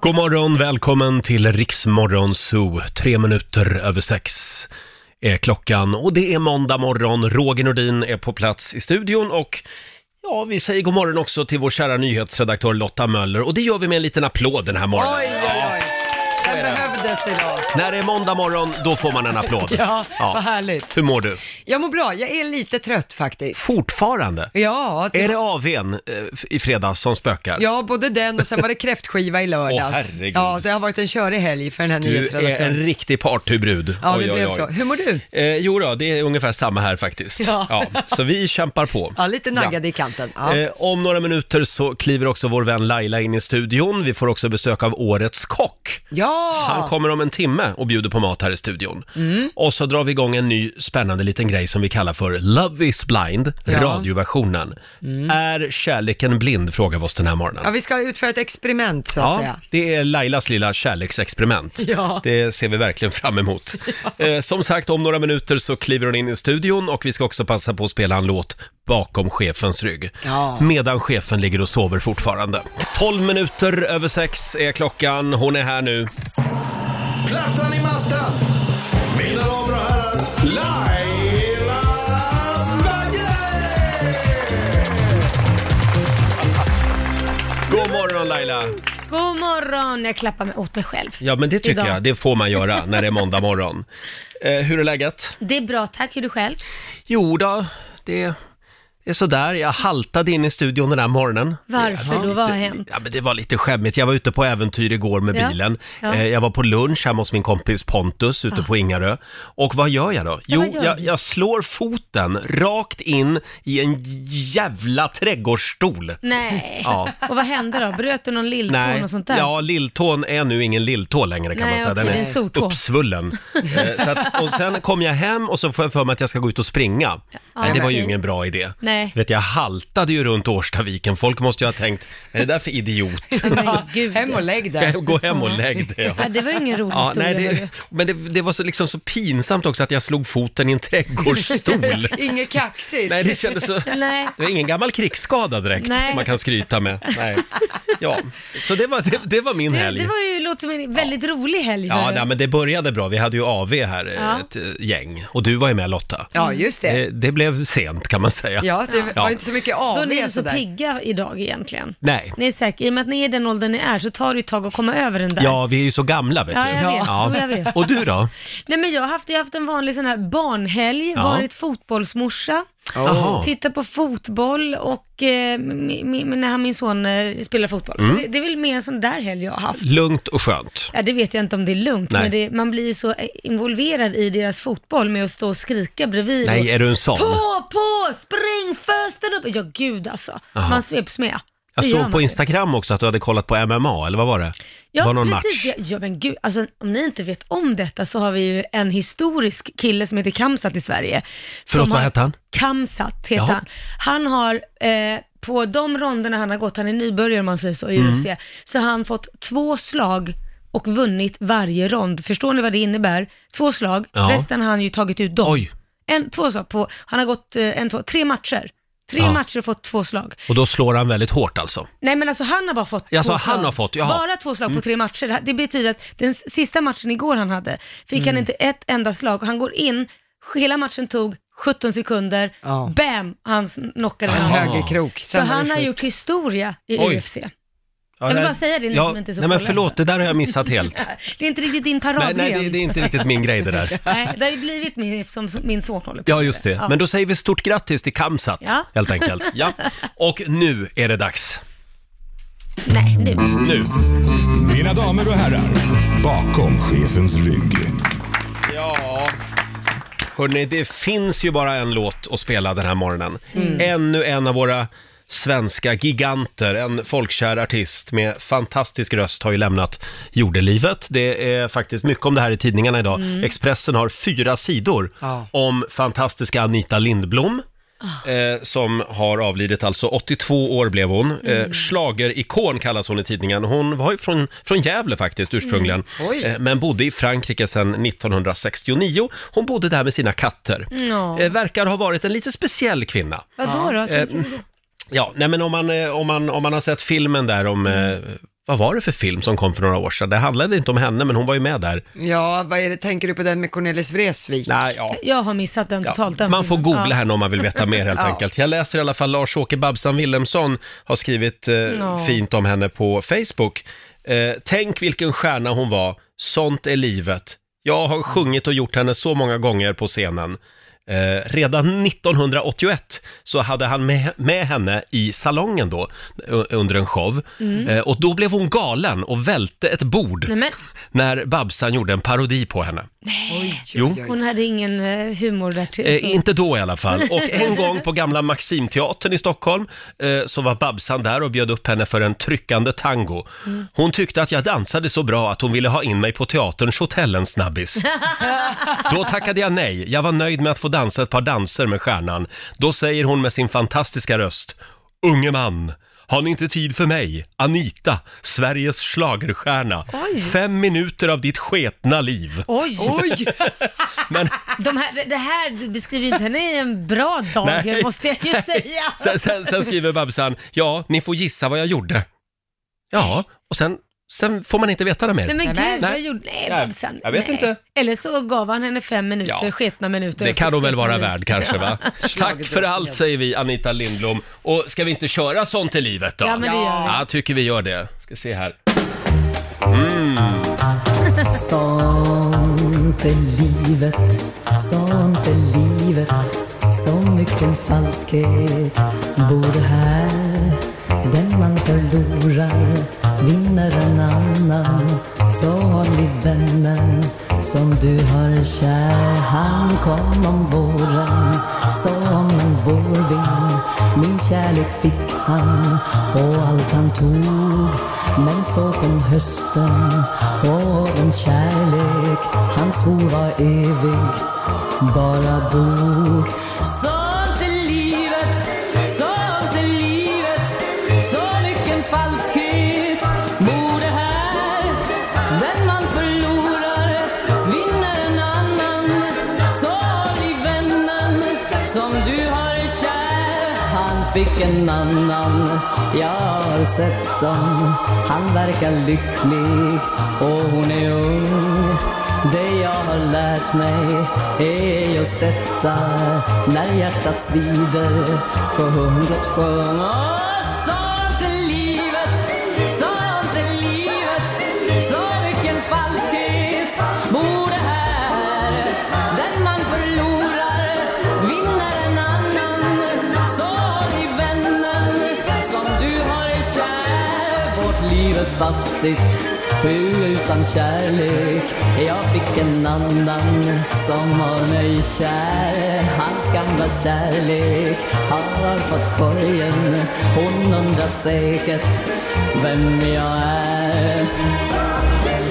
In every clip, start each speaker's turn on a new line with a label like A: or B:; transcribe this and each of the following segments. A: God morgon, välkommen till Riksmorgon Zoo. Tre minuter över sex är klockan och det är måndag morgon. Roger Nordin är på plats i studion och ja, vi säger god morgon också till vår kära nyhetsredaktör Lotta Möller och det gör vi med en liten applåd den här morgonen.
B: Oj, oj, oj. Den behövdes idag.
A: När det är måndag morgon, då får man en applåd.
B: Ja, vad härligt.
A: Hur mår du?
B: Jag mår bra, jag är lite trött faktiskt.
A: Fortfarande?
B: Ja, det-
A: Är det AWn eh, i fredags som spökar?
B: ja, både den och sen var det kräftskiva i lördags.
A: Åh, herregud.
B: ja, det har varit en körig helg för den här
A: Du är en
B: nyhetsredaktören.
A: riktig partybrud.
B: Ja, det
A: Oj, oj,
B: blev
A: oj.
B: så. Hur mår du?
A: Eh, jo då, det är ungefär samma här faktiskt.
B: Ja.
A: så vi kämpar på.
B: Ja, lite naggad i kanten. Ja.
A: Eh, om några minuter så kliver också vår vän Laila in i studion. Vi får också besök av årets kock.
B: ja. Mm.
A: Han kommer om en timme och bjuder på mat här i studion. Och så drar vi igång en ny spännande liten grej som vi kallar för Love is blind,
B: Ja. Mm.
A: radioversionen. Är kärleken blind? Frågar vi oss den här morgonen.
B: ja, vi ska utföra ett experiment så att säga.
A: det är Lailas lilla kärleksexperiment.
B: Ja.
A: Det ser vi verkligen fram emot. Eh, som sagt, om några minuter så kliver hon in i studion och vi ska också passa på att spela en låt bakom chefens rygg.
B: Ja.
C: Mm.
A: Medan chefen ligger och sover fortfarande. 12 minuter över sex är klockan. Hon är här nu.
D: Plattan i mattan. Mina damer och herrar, Laila Bagge!
A: God morgon Laila!
C: God morgon! Jag klappar mig åt mig själv.
A: Ja, men det tycker
C: Idag.
A: jag. Det får man göra när det är måndag morgon. Eh, hur är läget?
C: Det är bra, tack. Hur är du själv?
A: Jo då, det... Det är sådär, jag haltade in i studion den här morgonen.
C: Varför då? Vad har hänt?
A: Ja, men det var lite skämmigt. Jag var ute på äventyr igår med
C: Ja,
A: bilen.
C: ja. Ah.
A: Eh, Jag var på lunch hemma hos min kompis Pontus ute på Ingarö. Och vad gör jag då? Jo,
C: vad gör
A: jag,
C: du?
A: jag slår foten rakt in i en jävla trädgårdsstol.
C: Nej.
A: Ja.
C: Och vad hände då? Bröt du någon lilltå Mm, och sånt där?
A: ja, lilltån är nu ingen lilltå längre kan
C: Nej,
A: man säga.
C: okej, det är en stor tå.
A: uppsvullen. Eh, så att, och sen kom jag hem och så får jag för mig att jag ska gå ut och springa. Nej, det var ju
C: okej.
A: ingen bra idé.
C: Nej.
A: Vet, jag haltade ju runt Årstaviken. Folk måste ju ha tänkt, vad är det där för idiot?
C: Men gud.
B: Hem och lägg dig.
A: Gå hem och lägg dig.
C: Ja, det var ju ingen rolig
A: Ja, nej,
C: historia.
A: det,
C: hörru.
A: men det, det var så, liksom så pinsamt också att jag slog foten i en trädgårdsstol.
B: Inget kaxigt.
A: nej, det kändes så...
C: Nej.
A: Det var ingen gammal krigsskada direkt
C: Nej.
A: man kan skryta med. Nej. Ja, så det var, det, det var min
C: Det,
A: helg.
C: det var ju, låter som en väldigt rolig helg.
A: Ja,
C: hörru.
A: nej, men det började bra. Vi hade ju AV här,
C: Ja.
A: ett eh, gäng. Och du var ju med Lotta.
B: Ja, just det.
A: Det, det blev sent kan man säga.
B: Ja, det var
A: Ja.
B: inte så mycket
C: Då
B: av
C: är ni inte så
B: sådär.
C: pigga idag egentligen.
A: Nej.
C: Ni är säkert, I och med att ni är i den åldern ni är så tar det ju ett tag att komma över den där.
A: Ja, vi är ju så gamla vet
C: Ja,
A: du.
C: jag vet. Jo, jag vet.
A: Och du då?
C: Nej men jag har haft, jag har haft en vanlig sån här barnhelg,
A: Ja.
C: varit fotbollsmorsa.
A: Jaha.
C: titta på fotboll och eh, min, min, när han, min son eh, spelar fotboll.
A: Mm.
C: Så det, det är väl mer en sån där helg jag har haft.
A: Lugnt och skönt.
C: Ja, det vet jag inte om det är lugnt,
A: Nej.
C: men det, man blir ju så eh, involverad i deras fotboll med att stå och skrika bredvid.
A: Nej,
C: och,
A: är du en sån?
C: På, på, spring, fösten upp! Ja, gud alltså.
A: Jaha.
C: Man sveps med.
A: Jag
C: Det gör
A: såg
C: man
A: på
C: ju.
A: Instagram också att du hade kollat på MMA, eller vad var det?
C: Ja,
A: det var någon
C: precis.
A: match.
C: Ja, ja, men gud, alltså, om ni inte vet om detta så har vi ju en historisk kille som heter Kamsat i Sverige.
A: Förlåt,
C: Som
A: vad
C: har-
A: hette han?
C: Kamsat heter
A: Jaha.
C: han. Han har, eh, på de ronderna han har gått, han är nybörjare om man säger så i
A: Mm.
C: UFC, så har han fått två slag och vunnit varje rond. Förstår ni vad det innebär? Två slag,
A: Ja.
C: resten har han ju tagit ut dem.
A: Oj.
C: En, två slag på, han har gått eh, en, två, tre matcher. Tre
A: Ja.
C: matcher och fått två slag.
A: Och då slår han väldigt hårt alltså.
C: Nej men alltså han har bara fått
A: Jaså,
C: två
A: han
C: slag.
A: har fått, jaha. Mm.
C: Bara två slag på tre matcher. Det här- Det betyder att den s- sista matchen igår han hade, fick
A: Mm.
C: han inte ett enda slag. Han går in, hela matchen tog 17 sekunder,
B: Ja.
C: bam, han s- knockade
A: Jaha.
B: En
C: honom.
B: högerkrok.
C: Så
B: sen var det
C: han har
B: slut.
C: gjort historia i
A: Oj.
C: UFC.
A: Ja,
C: Jag vill
A: nej-
C: bara säga det, ni som inte är så
A: Nej men
C: pålästa.
A: förlåt, det där har jag missat helt.
C: Det är inte riktigt din
A: nej,
C: paradgren.
A: nej det, det är inte riktigt min grej det där.
C: Nej, det har ju blivit min, som som min son håller på
A: Ja,
C: med.
A: just det. Men då säger vi stort grattis till Kamsat,
C: Ja.
A: helt enkelt. Ja. Och nu är det dags.
C: Nej, nu.
A: Nu.
D: Mm. Mina damer och herrar, bakom chefens rygg.
A: Ja. Hörrni, det finns ju bara en låt att spela den här morgonen.
B: Mm.
A: Ännu en av våra svenska giganter, en folkkär artist med fantastisk röst har ju lämnat jordelivet. Det är faktiskt mycket om det här i tidningarna idag. Expressen har fyra sidor
B: Mm. Ja. Ah.
A: om fantastiska Anita Lindblom. Eh, som har avlidit alltså, 82 år blev hon.
B: Mm.
A: Eh, Schlagerikon kallas hon i tidningen. Hon var ju från, från Gävle faktiskt ursprungligen.
B: Mm. Oj.
A: Eh, men bodde i Frankrike sedan 1969. Hon bodde där med sina katter.
C: Ja.
A: Eh, verkar ha varit en lite speciell kvinna.
C: Vadå då?
A: Eh, Ja, nej men om man, eh, om man, om man har sett filmen där om eh, vad var det för film som kom för några år sedan? Det handlade inte om henne, men hon var ju med där.
B: Ja, vad är det, tänker du på den med Cornelis Vreeswijk?
A: Nej, ja.
C: Jag har missat den
A: Ja,
C: totalt. Den
A: man får
C: filmen.
A: googla
C: Ja.
A: här om man vill veta mer helt
B: Ja.
A: enkelt. Jag läser i alla fall Lars-Åke Babsan Willemsson har skrivit eh, fint om henne på Facebook. Eh, Tänk vilken stjärna hon var, sånt är livet. Jag har sjungit och gjort henne så många gånger på scenen. Eh, redan 1981 så hade han med, med henne i salongen då, u- under en show.
C: Mm.
A: Eh, och då blev hon galen och välte ett bord
C: Nej, men,
A: när Babsan gjorde en parodi på henne.
C: nej.
A: Jo.
C: Hon hade ingen eh, humor där till.
A: Eh,
C: så-
A: inte då i alla fall. Och en gång på gamla Maximteatern i Stockholm eh, så var Babsan där och bjöd upp henne för en tryckande tango.
C: Mm.
A: Hon tyckte att jag dansade så bra att hon ville ha in mig på teaterns hotell en snabbis. Då tackade jag nej. Jag var nöjd med att få dansa ett par danser med stjärnan. Då säger hon med sin fantastiska röst. Unge man, har ni inte tid för mig? Anita, Sveriges schlagerstjärna.
C: Oj.
A: Fem minuter av ditt sketna liv.
C: Oj!
B: Oj!
A: Men
C: De här, det- det här beskriver ju inte henne i en bra dag,
A: Nej.
C: måste jag ju säga.
A: Sen, sen, sen skriver Babsan, ja, ni får gissa vad jag gjorde. Ja, och sen, sen får man inte veta det mer.
C: Nej men gud,
B: Nej.
C: jag gjorde... Nej,
A: Nej,
C: Babsan,
A: jag vet
C: nej.
A: inte.
C: Eller så gav han henne fem minuter,
A: Ja.
C: sketna minuter.
A: det
C: och så
A: kan hon väl
C: sketna
A: vara
C: minuter.
A: värd kanske va? Tack för allt säger vi Anita Lindblom. Och ska vi inte köra sånt i livet då?
C: Ja, men det gör vi.
A: Ja, tycker vi gör det. Ska se här. Mm.
E: Sånt är livet, sånt är livet Så mycken falskhet bor här Den man förlorar vinner en annan Så har vi vännen som du har kär Han kom om våren som en vårvind Min kärlek fick han och allt han tog Men så kom hösten och den kärlek han svor var evig bara dog Sånt är livet, sånt är livet Så mycken falskhet bor det här Den man förlorar vinner en annan Sorg i vännen som du har kär Han fick en annan, jag har sett dem Han verkar lycklig och hon är ung det jag har lärt mig är just detta När hjärtat svider för hundret sjöng Åh, sånt är livet, sånt är livet Så mycken falskhet bor det här Den man förlorar vinner en annan Sorg i vännen som du har i kär Vårt liv är fattigt hur utan kärlek Jag fick en annan som har mig kär Hans gamla kärlek har fått korgen Hon undrar säkert vem jag är Sånt är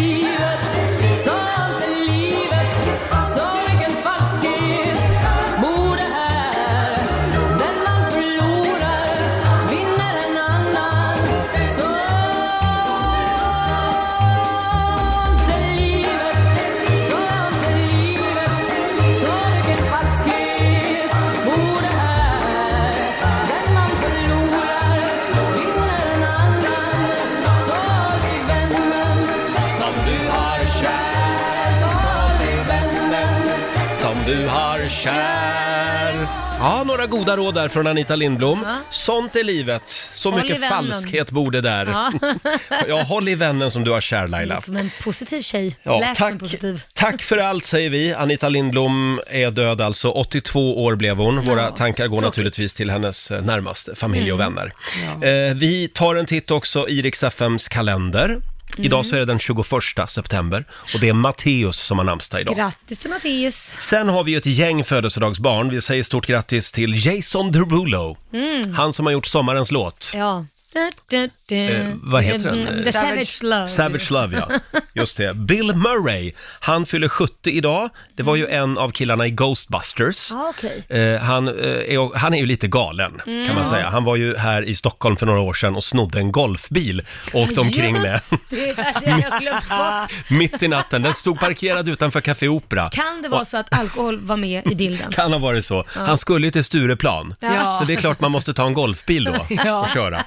E: livet, sånt är livet Sorgen falskhet bor det här Den man förlorar vinner en annan Sånt är livet, sånt är livet Sorgen falskhet bor det här Den man förlorar vinner en annan Sorg i vännen som du har kär Sorg i vännen
A: Som du har kär. Ja, några goda råd där från Anita Lindblom.
C: Ja.
A: Sånt är livet. Så
C: Håll i
A: mycket
C: vännen.
A: falskhet bor det där. Ja.
C: Ja.
A: håll i vännen som du har kär Laila.
C: Som en positiv tjej.
A: Ja,
C: Lät
A: tack.
C: som positiv.
A: Tack för allt säger vi. Anita Lindblom är död alltså. 82 år blev hon. Våra tankar går naturligtvis till hennes eh, närmaste familj och vänner. Eh, vi tar en titt också i Rix FMs kalender. Idag så är det den 21 september och det är Matteus som har namnsdag idag.
C: Grattis till Matteus.
A: Sen har vi ju ett gäng födelsedagsbarn. Vi säger stort grattis till Jason Derulo.
C: Mm.
A: Han som har gjort sommarens låt.
C: Ja. Da, da, da.
A: Eh, vad heter den?
C: Mm, The Savage Love.
A: Savage Love, ja. Just det. Bill Murray, han fyller 70 idag. Det var ju en av killarna i
D: Ah.
A: Ghostbusters.
C: Ja, okej.
A: Eh, han, eh, är, han är ju lite galen, kan
C: Mm.
A: man säga. Han var ju här i Stockholm för några år sedan och snodde en golfbil och
C: Ah,
A: åkte omkring med.
C: Just det, det hade jag glömt bort.
A: Mitt i natten. Den stod parkerad utanför Café Opera.
C: Kan det vara så att alkohol var med i bilden?
A: Kan ha varit så. Han skulle ju till Stureplan.
C: Ja.
A: Så det är klart man måste ta en golfbil då
B: Ja.
A: och köra.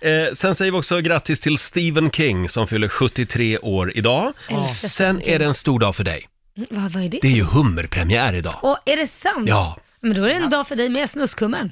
A: Eh, sen säger vi också grattis till Stephen King som fyller 73 år idag.
C: Älskar
A: Sen är det en stor dag för dig.
C: Mm, Vad, vad är det?
A: Det är ju hummerpremiär idag.
C: Åh, är det sant?
A: Ja.
C: Men då är det en dag för dig med snuskummen.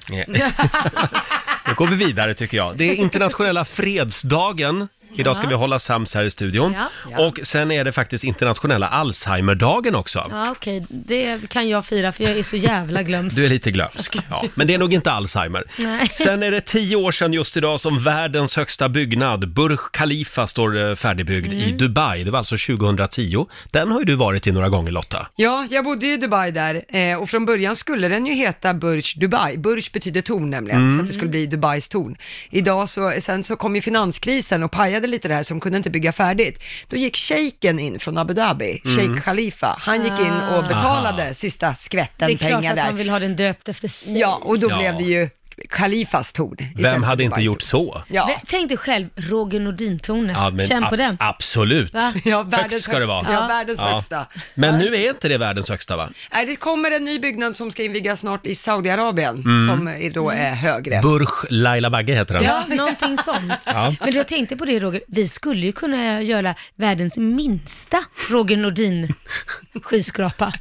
A: Nu går vi vidare tycker jag. Det är internationella fredsdagen. Idag ska
C: Ja.
A: vi hålla sams här i studion.
C: Ja.
A: Och sen är det faktiskt internationella Alzheimerdagen också.
C: Ja, okej. Det kan jag fira för jag är så jävla glömsk.
A: Du är lite glömsk, ja. Men det är nog inte Alzheimer.
C: Nej.
A: Sen är det tio år sedan just idag som världens högsta byggnad, Burj Khalifa, står eh, färdigbyggd
C: Mm.
A: i Dubai. Det var alltså 2010. Den har ju du varit i några gånger Lotta.
B: Ja, jag bodde ju i Dubai där eh, och från början skulle den ju heta Burj Dubai. Burj betyder torn nämligen,
A: Mm.
B: så att det skulle bli Dubais torn. Idag så, sen så kom ju finanskrisen och pajade lite det här så de kunde inte bygga färdigt. Då gick shejken in från Abu Dhabi,
A: Mm.
B: Sheikh Khalifa. Han gick in och
A: Ah.
B: betalade sista skvätten
C: det är klart
B: pengar
C: att han
B: där.
C: vill ha den döpt efter sig.
B: Ja, och då
A: Ja.
B: blev det ju Khalifas torn. istället
A: Vem
B: för
A: hade inte
B: Dubais
A: gjort
B: torn.
A: så?
B: Ja.
C: Vä- Tänk dig själv Roger Nordin-tornet.
A: men
C: Känn på
A: ab-
C: den.
A: Absolut.
C: Va?
B: Ja,
A: Högt ska det vara.
B: högsta. Ja, världens
A: Ja.
B: högsta.
A: Men nu är inte det världens högsta va?
B: Nej, Äh, det kommer en ny byggnad som ska invigas snart i Saudiarabien, som är- då är högre.
A: Mm. Burj Laila Bagge heter den.
C: Ja, någonting sånt.
A: Ja.
C: Men jag tänkte på det Roger, vi skulle ju kunna göra världens minsta Roger Nordin skyskrapa.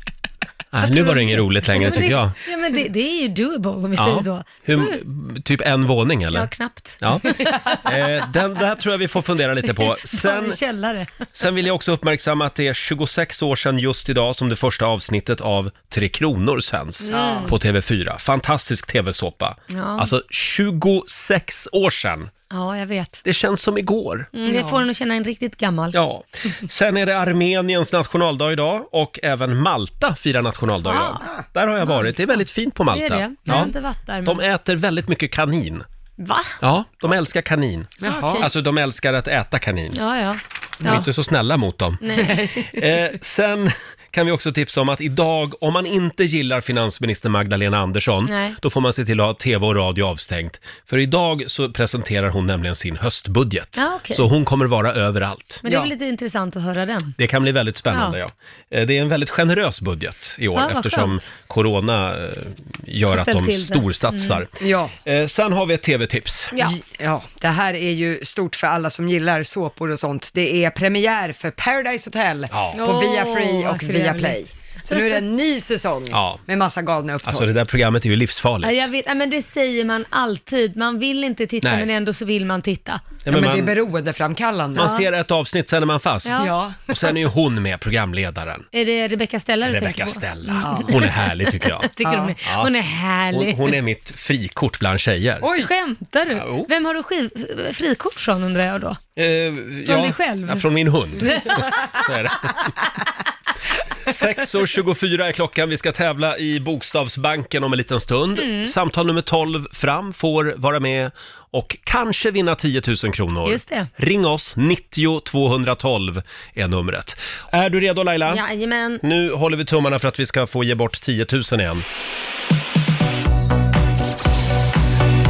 A: Nej, nu var det inget roligt längre tycker jag.
C: Ja, men det, det är ju doable om vi säger så. Mm.
A: Hur, typ en våning eller?
C: Ja, knappt.
A: Ja. Eh, den där tror jag vi får fundera lite på.
C: Sen...
A: Sen,
C: En källare.
A: sen vill jag också uppmärksamma att det är 26 år sedan just idag som det första avsnittet av Tre Kronor sänds på TV4. Fantastisk TV-såpa.
C: Mm. Ja.
A: Alltså 26 år sedan.
C: Ja, jag vet.
A: Det känns som igår.
C: Mm, Det får en att känna en riktigt gammal.
A: Ja. Sen är det Armeniens nationaldag idag och även Malta firar nationaldag idag. Där har jag varit. Det är väldigt fint på
C: Det
A: Malta.
C: är det. Jag har inte varit där.
A: De
C: Men...
A: äter väldigt mycket kanin.
C: Va?
A: Ja, de älskar kanin.
B: Jaha.
C: okej.
A: Alltså de älskar att äta kanin.
C: Ja, ja.
A: De är
C: ja.
A: inte så snälla mot dem.
C: Nej.
A: Eh, sen kan vi också tipsa om att idag, om man inte gillar finansminister Magdalena Andersson,
C: Nej.
A: då får man se till att ha tv och radio avstängt. För idag så presenterar hon nämligen sin höstbudget.
C: Ja, okej.
A: Så hon kommer vara överallt.
C: Men det är
B: Ja.
C: väl lite intressant att höra den.
A: Det kan bli väldigt spännande, ja. Eh, Det är en väldigt generös budget i år
C: Ja, vad
A: eftersom
C: skönt.
A: corona eh, gör att
C: ställt
A: de
C: till det. Mm.
A: storsatsar.
B: Mm. Ja.
A: Eh, Sen har vi ett tv-tips.
C: Ja.
B: ja, det här är ju stort för alla som gillar såpor och sånt. Det är premiär för Paradise Hotel
A: Ja.
B: på
C: Åh,
B: Viafree
C: vad
B: och
C: trevligt.
B: Viaplay. Så nu är det en ny säsong
A: Ja.
B: med massa galna upptåg.
A: Alltså det där programmet är ju livsfarligt.
C: Ja, jag vet, ja, men det säger man alltid. Man vill inte titta,
A: Nej.
C: men ändå så vill man titta.
A: Ja,
B: men
A: men
B: ja, men det är
A: man,
B: beroendeframkallande.
A: man ser ett avsnitt, sen är man fast.
C: Ja.
B: Ja.
A: Och sen är ju hon med, programledaren.
C: Är det Rebecca Stella du tänker
A: Rebecca
C: på?
A: Stella. Hon är härlig tycker jag.
C: Tycker hon, är,
A: Ja.
C: hon är
A: Hon,
C: härlig.
A: hon är mitt frikort bland tjejer.
B: Oj.
C: Skämtar du?
A: jo.
C: Vem har du skiv- frikort från undrar jag då?
A: Eh,
C: Från dig själv?
A: Ja, från min hund. Så är det. 6.24 är klockan, vi ska tävla i Bokstavsbanken om en liten stund.
C: Mm.
A: Samtal nummer 12 fram får vara med och kanske vinna 10 000 kronor.
C: Just det.
A: Ring oss, 90 212 är numret. Är du redo Laila?
C: Jajamän.
A: Nu håller vi tummarna för att vi ska få ge bort 10 000 igen.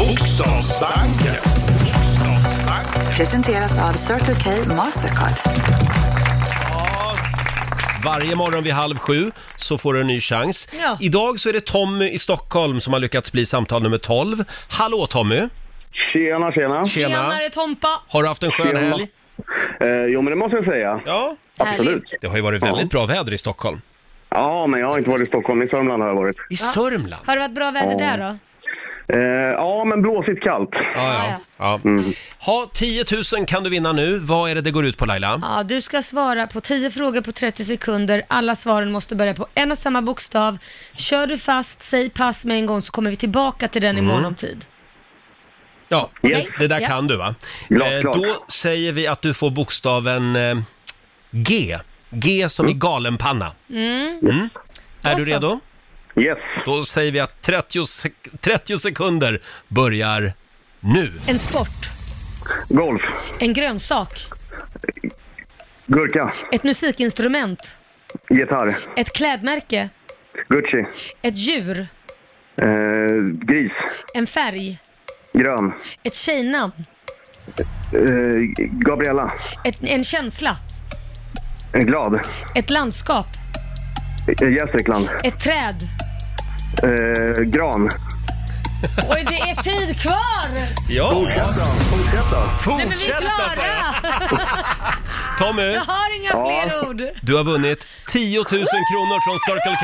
D: Bokstavsbanken.
F: Presenteras av Circle K Mastercard.
A: Varje morgon vid halv sju så får du en ny chans.
C: Ja.
A: Idag så är det Tommy i Stockholm som har lyckats bli samtal nummer 12. Hallå Tommy!
G: Tjena, tjena.
C: Tjenare Tompa!
A: Har du haft en skön
G: Tjena.
A: helg?
G: Eh, jo, men det måste jag säga.
A: Ja.
G: Absolut.
A: Det har ju varit väldigt bra väder i Stockholm.
G: Ja, men jag har inte varit i Stockholm. I Sörmland har jag varit.
A: I Sörmland?
C: Har det varit bra väder där då?
G: Eh, ja, men blåsigt kallt.
A: Ja, ja.
G: Mm.
A: ja. Ha, 10 000 kan du vinna nu. Vad är det det går ut på Laila?
C: Ja, du ska svara på 10 frågor på 30 sekunder. Alla svaren måste börja på en och samma bokstav. Kör du fast, säg pass med en gång så kommer vi tillbaka till
A: Mm.
C: den i mån om tid.
A: Ja,
G: Yes.
A: det där
C: Ja.
A: kan du va?
G: Glad,
A: Eh,
G: glad.
A: Då säger vi att du får bokstaven eh, G. G som i galenpanna. Mm. Är
C: Då
A: du
C: så.
A: redo?
G: Yes.
A: Då säger vi att 30, sek- 30 sekunder börjar nu.
C: En sport,
G: Golf.
C: en grönsak,
G: Gurka.
C: ett musikinstrument,
G: Gitarr.
C: ett klädmärke,
G: Gucci.
C: ett djur,
G: Eh, gris.
C: en färg,
G: Grön.
C: ett tjejnamn,
G: Eh, Gabriella.
C: ett, en känsla,
G: Eh, Glad.
C: ett landskap,
G: Eh, Gästrikland.
C: ett träd,
G: Eh, gran.
C: Oj, det är tid kvar!
A: Ja,
G: Fortsätt då, fortsätt då.
C: Nej, men vi är
A: fortsätt alltså.
C: klara!
A: Tommy,
C: Jag har inga fler ord.
A: du har vunnit 10 000 kronor från Circle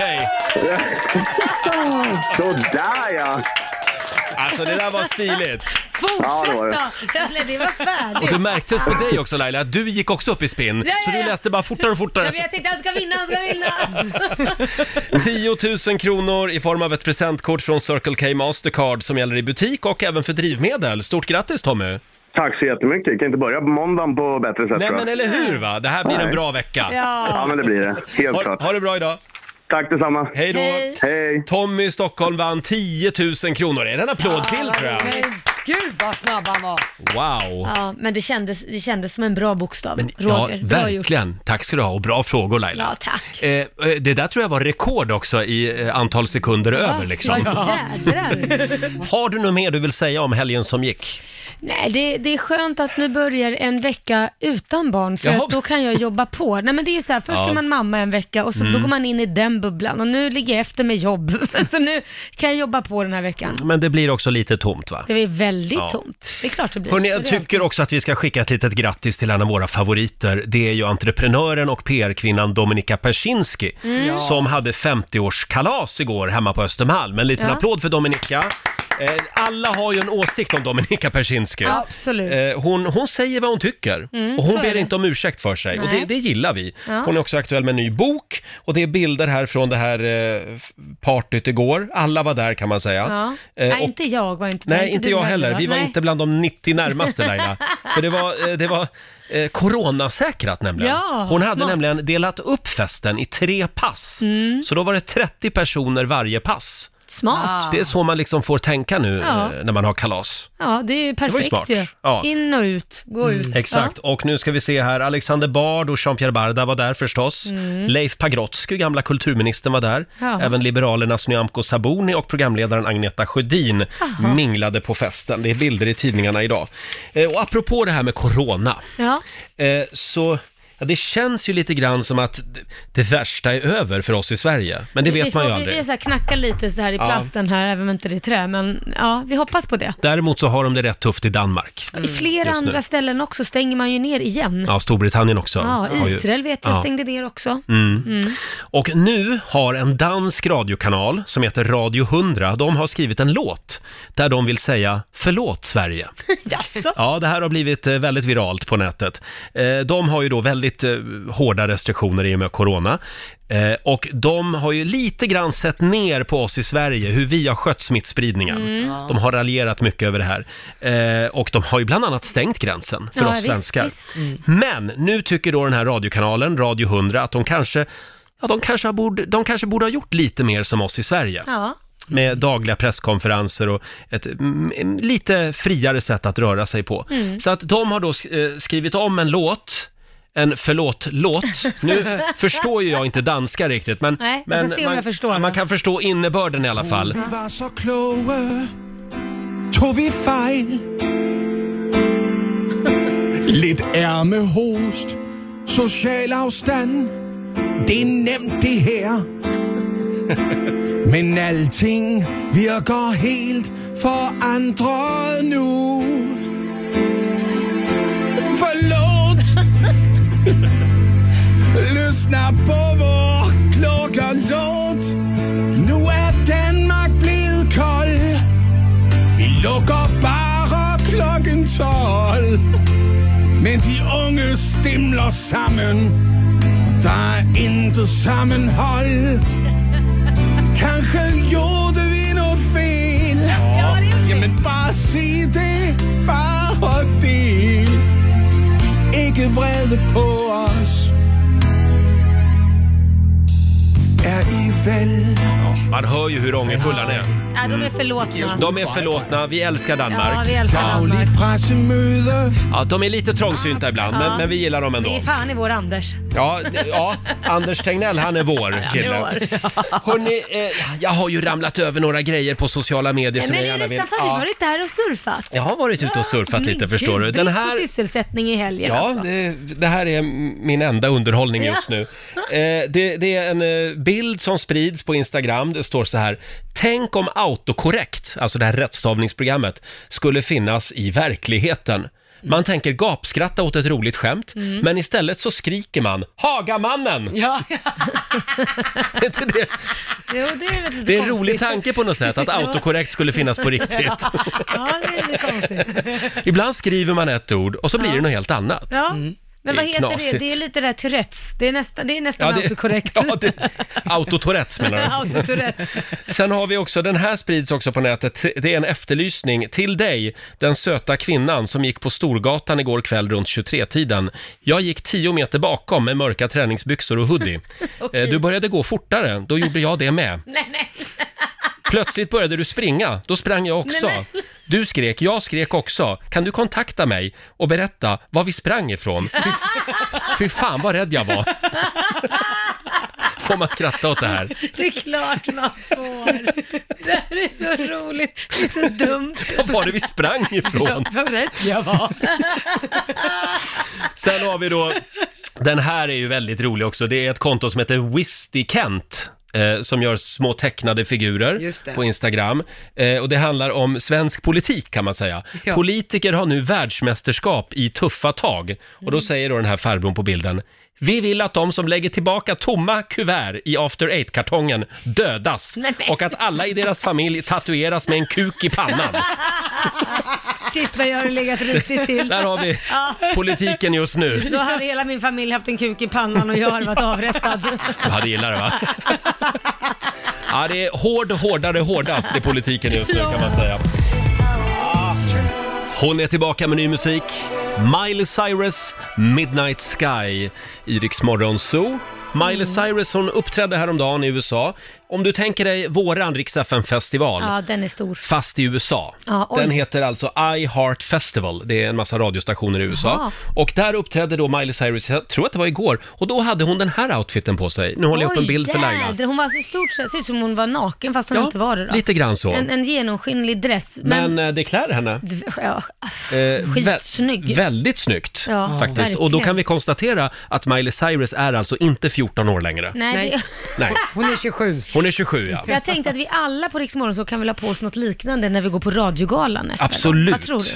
A: K.
G: Sådär ja!
A: Alltså det där var stiligt.
G: Ja, det var
C: Fortsätta!
G: det.
C: Eller det var färdigt.
A: Det märktes på dig också Laila, att du gick också upp i spinn.
C: Ja,
A: Så
C: ja,
A: du
C: ja.
A: läste bara fortare och
C: Ja,
A: fortare.
C: men jag tänkte han ska vinna, han ska vinna.
A: 10 000 kronor i form av ett presentkort från Circle K Mastercard som gäller i butik och även för drivmedel. Stort grattis Tommy!
G: Tack så jättemycket. Kan inte börja på måndagen på bättre sätt
A: Nej
G: tror jag.
A: men eller hur va? Det här blir en bra vecka.
G: Ja,
C: Ja.
G: men det blir det. Helt
A: Ha,
G: klart.
A: ha det bra idag!
G: Tack detsamma.
A: Hej då!
C: Hej.
G: Hej.
A: Tommy i Stockholm vann 10 000 kronor. Är det en applåd till tror jag?
H: Men gud vad snabb han var.
A: Wow!
C: ja, men det kändes, det kändes som en bra bokstav.
A: Ja,
C: Roger, bra gjort.
A: verkligen. Tack ska du ha och bra frågor Laila.
C: Ja, tack.
A: Eh, eh, det där tror jag var rekord också i eh, antal sekunder över liksom.
C: Ja, jädrar.
A: Har du något mer du vill säga om helgen som gick?
C: Nej, det, det är skönt att nu börjar en vecka utan barn för
A: Jaha.
C: att då kan jag jobba på. Nej men det är ju så här, först
A: Ja. Mm.
C: är man mamma en vecka och så då går man in i den bubblan och nu ligger jag efter med jobb. Så nu kan jag jobba på den här veckan.
A: Men det blir också lite tomt va?
C: Det är väldigt
A: Ja.
C: tomt. Det är klart det blir.
A: Hörrni,
C: Så
A: jag
C: det är
A: tycker också att vi ska skicka ett litet grattis till en av våra favoriter. Det är ju entreprenören och PR-kvinnan Dominika Persinski
C: Mm.
A: som hade 50-årskalas igår hemma på Östermalm. En liten
C: Ja.
A: applåd för Dominika. Eh, Alla har ju en åsikt om Dominika Persinski.
C: alltid. Absolut. Mm,
A: Eh, Hon, hon säger vad hon tycker och
C: så
A: hon
C: är
A: ber
C: det.
A: inte om ursäkt för sig och
C: Nej.
A: det, det gillar vi.
C: Ja.
A: Hon är också aktuell med en ny bok och det är bilder här från det här eh, f- partyt igår. Alla var där kan man säga.
C: Ja.
A: Eh,
C: nej,
A: och-
C: inte jag var inte
A: Nej, inte
C: du
A: jag
C: heller,
A: heller.
C: va?
A: Vi var
C: Nej.
A: inte bland de 90 närmaste Laila. För det var, eh, det var eh, coronasäkrat nämligen.
C: Ja,
A: Hon hade
C: smart. Mm.
A: nämligen delat upp festen i tre pass. Så då var det 30 personer varje pass.
C: Smart.
A: Det är så man liksom får tänka nu
C: Ja.
A: eh, när man har kalas.
C: Ja, det är ju
A: var ju
C: perfekt
A: smart.
C: ju.
A: Ja. Mm.
C: In och ut, gå ut.
A: Exakt, och nu ska vi se här, Alexander Bard och Jean-Pierre Barda var där förstås. Leif Pagrotsky, gamla kulturministern, var där.
C: Mm. Ja.
A: Även Liberalernas Nyamko Sabuni och programledaren Agneta Sjödin minglade på festen. Det är bilder i tidningarna idag. Eh, Och apropå det här med corona,
C: Ja. ja.
A: eh, så ja, det känns ju lite grann som att det- det värsta är över för oss i Sverige. Men det
C: vi
A: vet
C: får,
A: man ju
C: Vi, vi
A: aldrig.
C: så här knackar lite så här i
A: Ja.
C: plasten här, även om inte det är trä. Men ja, vi hoppas på det.
A: Däremot så har de det rätt tufft i Danmark.
C: I flera
A: Mm. Just nu.
C: andra ställen också stänger man ju ner igen. Ja,
A: Ja, Storbritannien också. har ju-
C: Israel vet jag
A: Ja. Mm.
C: stängde ner också. Mm.
A: Och nu har en dansk radiokanal som heter Radio 100, de har skrivit en låt där de vill säga förlåt Sverige.
C: Jaså?
A: Ja, det här har blivit eh, väldigt viralt på nätet. Eh, De har ju då väldigt eh, hårda restriktioner i och med corona. Eh, Och de har ju lite grann sett ner på oss i Sverige, hur vi har skött smittspridningen.
C: Mm.
A: De har raljerat mycket över det här. Eh, Och de har ju bland annat stängt gränsen för
C: Ja,
A: oss
C: visst,
A: svenskar.
C: visst.
A: Men nu tycker då den här radiokanalen, Radio 100, att de kanske Ja, de kanske, har borde, de kanske borde ha gjort lite mer som oss i Sverige
C: Ja.
A: med dagliga presskonferenser och ett mm, lite friare sätt att röra sig på.
C: Mm.
A: Så att de har då sk- eh, skrivit om en låt, en förlåt-låt. Nu förstår ju jag inte danska riktigt, men,
C: Nej, jag
A: men
C: ska se om
A: man,
C: jag förstår.
A: man kan förstå innebörden i alla fall.
I: Vi var så kloge, tog vi fejl. Lidt ærmehost, social afstand, det er nemt det her. Men alting virker helt forandret nu. Forlåt, lyssna på vår klokke låt. Nu er Danmark blevet kold Vi lukker bare klokken 12 Men de unge stimler sammen Der er intet sammenhold Kanskje gjorde vi noget fel Jamen bare sig det, bare det Ikke vrede på os Er I vel
A: Man hör ju hur ångerfull han är. Mm.
C: ja, de är förlåtna.
A: De är förlåtna, vi älskar
C: Ja,
A: Danmark.
C: vi älskar Danmark.
I: Dagligt pressemøde
A: Ja, de är lite trångsynta ibland, men, men vi gillar dem
C: Det
A: ändå.
C: är fan i vår Anders.
A: Ja, ja, Anders Tegnell han är vår kille.
C: vår.
A: Hörrni, eh, jag har ju ramlat över några grejer på sociala medier
C: Nej,
A: som
C: men
A: jag
C: är
A: gärna
C: det
A: vill...
C: sant? Har du
A: Ja,
C: varit där och surfat?
A: jag har varit ute och surfat lite
C: Men
A: förstår
C: gud,
A: du. Den
C: brist på
A: här,
C: sysselsättning i helgen
A: ja,
C: alltså.
A: det, det här är min enda underhållning just nu. Eh, det, det är en eh, bild som sprids på Instagram. Det står så här. Tänk om autokorrekt, alltså det här rättstavningsprogrammet, skulle finnas i verkligheten. Man tänker gapskratta åt ett roligt skämt,
C: Mm.
A: men istället så skriker man Hagamannen!
B: Ja,
A: Är inte det
C: Jo, det är väl lite
A: Det är en
C: konstigt.
A: rolig tanke på något sätt att autokorrekt skulle finnas på riktigt.
C: Ja, det är lite konstigt.
A: Ibland skriver man ett ord och så blir det något helt annat.
C: Ja. Mm. Men
A: Det
C: vad
A: är
C: heter
A: knasigt.
C: det? Det är lite det här Tourettes. Det är, nästa, det är nästan
A: det-
C: autokorrekt.
A: Ja, det, autotourettes menar
C: Autotourette.
A: du. Sen har vi också, den här sprids också på nätet, det är en efterlysning till dig, den söta kvinnan som gick på Storgatan igår kväll runt 23-tiden. Jag gick 10 meter bakom med mörka träningsbyxor och hoodie. Eh, Du började gå fortare, då gjorde jag det med.
C: Nej, nej.
A: Plötsligt började du springa, då sprang jag också.
C: Nej,
A: Du skrek, jag skrek också. Kan du kontakta mig och berätta var vi sprang ifrån? Fy, fy fan vad rädd jag var. Får man skratta åt det här?
C: Det är klart man får. Det här är så roligt. Det är så dumt.
A: Var var det vi sprang ifrån?
B: vad rädd jag var.
A: Sen har vi då, den här är ju väldigt rolig också. Det är ett konto som heter Wisty Kent. Eh, som gör små tecknade
B: Just
A: figurer
B: det.
A: på Instagram. Eh, och det handlar om svensk politik kan man säga.
B: Ja.
A: Politiker har nu världsmästerskap i tuffa tag. Och
B: Mm.
A: då säger då den här farbrorn på bilden. Vi vill att de som lägger tillbaka tomma kuvert i After Eight-kartongen dödas.
C: Nej, men-
A: Och att alla i deras familj tatueras med en kuk i pannan.
C: Shit vad jag har legat risigt till.
A: Där har vi
C: Ja.
A: politiken just nu.
C: Då hade hela min familj haft en kuk i pannan och jag hade varit avrättad.
A: Du hade gillat det va? Ja, det är hård, hårdare, hårdast i politiken just nu kan man säga. Ah. Hon är tillbaka med ny musik. Miley Cyrus, Midnight Sky, i Rix Morgon Zoo. Miley Cyrus hon uppträdde häromdagen i USA. Om du tänker dig våran Rix festival
C: Ja, den är stor.
A: fast i USA.
C: Ja, oj.
A: Den heter alltså I Heart Festival. Det är en massa radiostationer i USA.
C: Jaha.
A: Och där uppträdde då Miley Cyrus, jag tror att det var igår, och då hade hon den här outfiten på sig. Nu håller jag upp en
C: Oj,
A: bild för Laila.
C: jädrar. Hon var så i stort sett, ser ut som hon var naken fast hon inte var det då.
A: lite grann så.
C: En, en genomskinlig dress. Men,
A: Men, eh, det klär henne.
C: ja,
A: Eh, vä-
C: skitsnygg.
A: väldigt snyggt
C: Ja,
A: faktiskt.
C: verkligen.
A: Och då kan vi konstatera att Miley Cyrus är alltså inte 14 år längre.
C: Nej,
B: Nej.
C: Det,
A: Nej,
B: Hon är 27.
A: hon är 27 ja.
C: jag tänkte att vi alla på Rix Morgon så kan väl ha på oss något liknande när vi går på radiogalan nästa gång.
A: Absolut.
C: Vad tror du?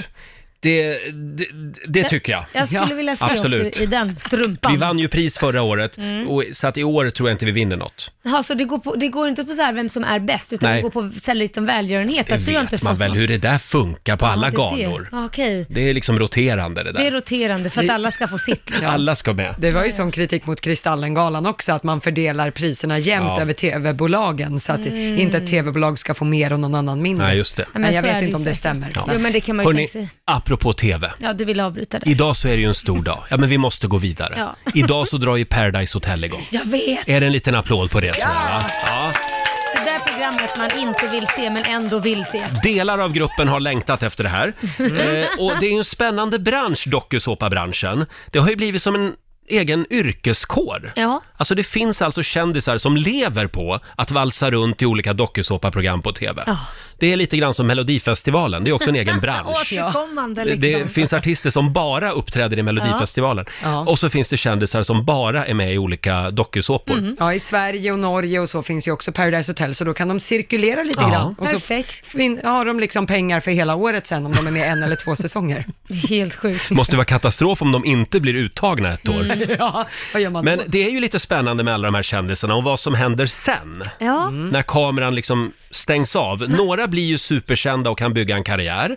A: Det, det, det tycker jag.
C: Jag skulle
B: Ja,
C: vilja se
A: absolut.
C: oss i den strumpan.
A: Vi vann ju pris förra året,
C: Mm.
A: och, så att i år tror jag inte vi vinner något.
C: Ja, så det går, på, det går inte på så här vem som är bäst, utan
A: Nej.
C: det går på så här liten välgörenhet.
A: Det
C: att du har inte
A: vet man
C: fått
A: väl
C: något.
A: hur det där funkar på alla
C: Ja, det är
A: galor.
C: Det. Ja, Okej,
A: Det är liksom roterande det
C: det är
A: där.
C: roterande för att alla ska få sitt. liksom.
A: Alla ska med.
B: Det var ju som kritik mot Kristallengalan också, att man fördelar priserna jämnt
A: Ja.
B: över tv-bolagen, så att inte ett tv-bolag ska få mer och någon annan mindre.
A: Nej, just det.
C: Mm. Ja,
B: Men, jag
C: så är
B: vet inte
C: ju
B: om det
C: säkert.
B: stämmer.
C: Ja. Jo, men det kan man ju
A: Hörrni,
C: tänka sig.
A: apropå TV.
C: Ja, du vill avbryta det.
A: Idag så är det ju en stor dag. Ja, men vi måste gå vidare.
C: Ja.
A: Idag så drar ju Paradise Hotel igång.
C: Jag vet!
A: Är det en liten applåd på det tror jag, va? Ja.
C: Det där programmet man inte vill se, men ändå vill se.
A: Delar av gruppen har längtat efter det här.
C: Mm.
A: Eh, och det är ju en spännande bransch, dokusåpabranschen. Det har ju blivit som en egen yrkeskår.
C: Ja.
A: Alltså det finns alltså kändisar som lever på att valsa runt i olika dokusåpaprogram på TV.
C: Ja.
A: Det är lite grann som Melodifestivalen, det är också en egen bransch.
C: Återkommande
A: Det-
C: liksom.
A: Det finns artister som bara uppträder i Melodifestivalen.
B: Ja.
A: Och så finns det kändisar som bara är med i olika dokusåpor.
C: Mhm.
B: Ja, i Sverige och Norge och så finns ju också Paradise Hotel, så då kan de cirkulera lite
A: Ja.
B: grann. Och så
C: Perfekt.
B: fin- har de liksom pengar för hela året sen, om de är med en eller två säsonger.
C: Det är Helt sjukt.
A: Måste vara katastrof om de inte blir uttagna ett
C: Mm.
A: år.
B: Mm. ja, vad gör man
A: Men
B: då?
A: det är ju lite spännande med alla de här kändisarna och vad som händer sen.
C: Ja.
B: Mm.
A: När kameran liksom stängs av.
C: Mm.
A: Några blir ju superkända och kan bygga en karriär.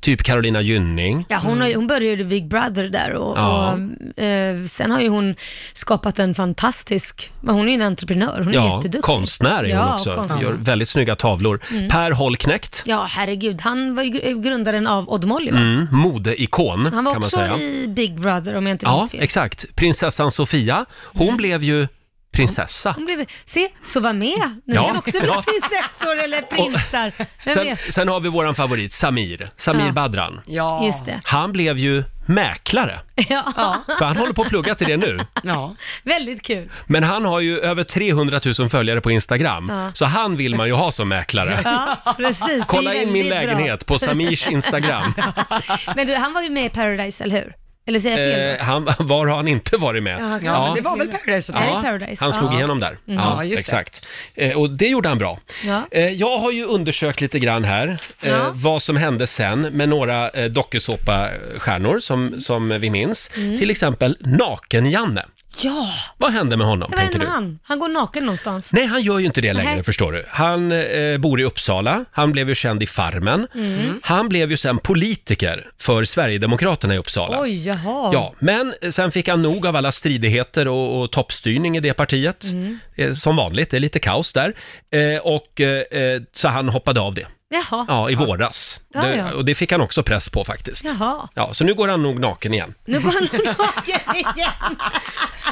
A: Typ Carolina Gynning.
C: Ja, hon, har, ju- hon började i Big Brother där och,
A: Ja.
C: och eh, sen har ju hon skapat en fantastisk, men hon är ju en entreprenör, hon är
A: Ja,
C: jätteduktig.
A: konstnär är hon
C: Ja,
A: också.
C: konstnär. Mm.
A: Gör väldigt snygga tavlor. Per Holknekt,
C: Ja, herregud, han var ju gr- eh, grundaren av Odd Molly va?
A: mm, modeikon
C: Han var
A: Mm, kan man
C: också
A: säga.
C: i Big Brother om jag inte
A: Ja,
C: minns fel. Mm.
A: exakt. Prinsessan Sofia, hon blev ju prinsessa.
C: Hon blev, se, så var med. Ni
A: Ja,
C: kan också bli
A: ja.
C: prinsessor eller prinsar. Vem
A: Sen,
C: vet?
A: sen har vi våran favorit Samir, Samir
C: Ja.
A: Badran.
B: Ja,
C: Just det.
A: Han blev ju mäklare.
C: Ja.
A: För han håller på att plugga till det nu.
B: Ja.
C: Väldigt kul.
A: Men han har ju över 300 000 följare på Instagram,
C: Ja.
A: så han vill man ju ha som mäklare.
C: Ja, precis. Det är
A: Kolla in min
C: väldigt bra.
A: lägenhet på Samirs Instagram.
C: Men du, han var ju med i Paradise, eller hur? Eller säger jag fel?
A: Eh, han, var har Eh, han inte varit med?
C: Ja, han kan-
B: Ja, men det var väl Paradise Hotel?
C: Ja. i Paradise.
A: han slog
C: Ja. Mm.
A: igenom där. Ja,
B: Ja, just det.
A: exakt. Eh, och det gjorde han bra.
C: Ja.
A: Eh, jag har ju undersökt lite grann här eh,
C: Ja.
A: vad som hände sen med några eh, dokusåpastjärnor som, som vi minns.
C: Mm.
A: Till exempel Naken-Janne.
C: Ja!
A: Vad hände med honom,
C: Vad
A: tänker
C: hände
A: du?
C: med han? Han går naken någonstans.
A: Nej, han gör ju inte det längre,
C: Nej.
A: förstår du. Han eh, bor i Uppsala, han blev ju känd i Farmen.
C: Mm.
A: Han blev ju sen politiker för Sverigedemokraterna i Uppsala.
C: Oj, jaha.
A: Ja, men sen fick han nog av alla stridigheter och, och toppstyrning i det partiet.
C: Mm.
A: Eh, Som vanligt, det är lite kaos där. Eh, och, eh, eh, så han hoppade av det,
C: Jaha.
A: ja, i våras.
C: Ja,
A: Det-
C: ja.
A: Och det fick han också press på faktiskt.
C: Jaha.
A: Ja, så nu går han nog naken igen.
C: Nu går han naken igen.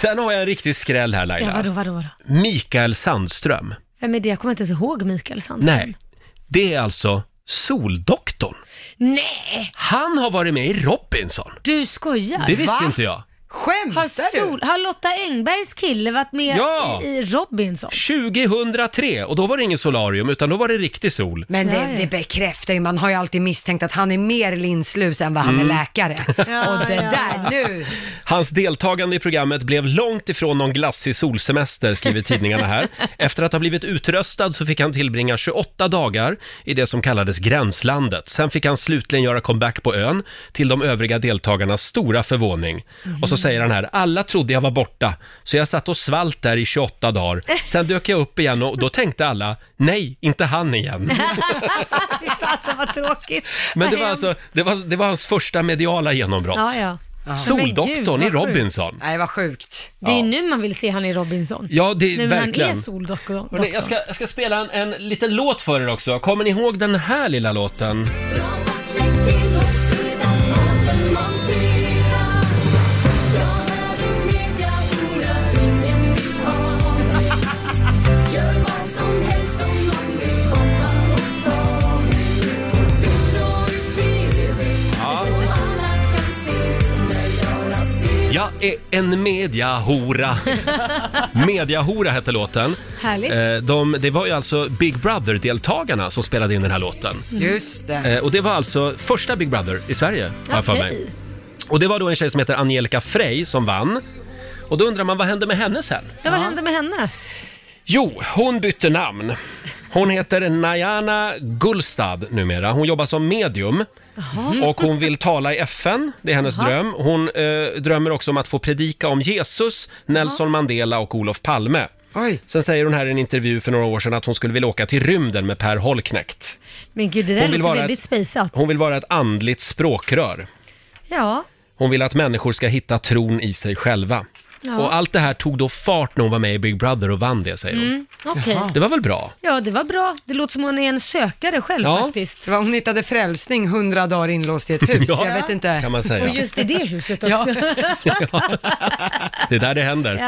A: Sen har jag en riktig skräll här
C: Ja,
A: Laila.
C: vadå, vadå, vadå?
A: Mikael Sandström.
C: Vem är det? Jag kommer inte ens ihåg Mikael Sandström.
A: Nej, det är alltså Soldoktorn.
C: Nej,
A: Han har varit med i Robinson.
C: du skojar.
A: Det visste inte jag.
C: har,
B: Skämtar du?
C: Sol, har Lotta Engbergs kille varit med
A: Ja.
C: i, i Robinson?
A: 2003, och då var det ingen solarium, utan då var det riktig sol.
B: Men
C: Ja, ja.
B: det, det bekräftar ju, man har ju alltid misstänkt att han är mer linslus än vad han
A: Mm.
B: är läkare. Och det
C: ja.
B: där, nu!
A: Hans deltagande i programmet blev långt ifrån någon glassig solsemester, skriver tidningarna här. Efter att ha blivit utröstad så fick han tillbringa 28 dagar i det som kallades Gränslandet. Sen fick han slutligen göra comeback på ön, till de övriga deltagarnas stora förvåning. Och
C: Mhm.
A: så säger han här, alla trodde jag var borta, så jag satt och svalt där i 28 dagar. Sen dök jag upp igen och då tänkte alla, nej, inte han igen.
C: alltså vad tråkigt.
A: Men
C: Vad
A: det var
C: hemskt.
A: alltså, det var, det var hans första mediala genombrott.
C: Ja, ja.
A: Soldoktorn i
C: Men gud, vad sjukt.
A: Robinson.
B: Nej, vad sjukt.
C: Det är ju nu man vill se han i Robinson.
A: Ja, det
C: nu
A: verkligen.
C: han är soldoktorn.
A: Hörrni, jag, ska, jag ska spela en, en liten låt för er också. Kommer ni ihåg den här lilla låten? Jag är en mediahora. mediahora hette låten.
C: Härligt.
A: Eh, de, det var ju alltså Big Brother-deltagarna som spelade in den här låten.
C: Mm.
B: Just det.
A: Eh, och det var alltså första Big Brother i Sverige, har jag för mig.
C: Okej.
A: Och det var då en tjej som heter Angelica Frey som vann. Och då undrar man, vad hände med henne sen?
C: Ja, vad hände med henne?
A: Jo, hon bytte namn. Hon heter Najana Gulstad numera. Hon jobbar som medium.
B: Mm.
C: Mm.
A: Och hon vill tala i FN, det är hennes dröm. Hon eh, drömmer också om att få predika om Jesus, Nelson Mandela och Olof Palme.
B: Oj.
A: Sen säger hon här i en intervju för några år sedan att hon skulle vilja åka till rymden med Per Holknekt.
C: Men gud, det där
A: Hon vill
C: låter
A: vara
C: väldigt
A: ett-
C: spejsat.
A: Hon vill vara ett andligt språkrör.
C: Ja,
A: Hon vill att människor ska hitta tron i sig själva.
C: Ja.
A: Och allt det här tog då fart när hon var med i Big Brother och vann det, säger hon.
B: Mm,
C: Mm, okej.
A: Det var väl bra?
C: Ja, det var bra. Det låter som hon är en sökare själv
A: Ja.
C: faktiskt.
B: Det var hon hittade frälsning hundra dagar inlåst i ett hus.
A: Ja.
B: Jag vet
A: Kan
B: inte.
A: man säga.
C: Och just i det huset också. Ja,
A: Det är där det händer.
C: det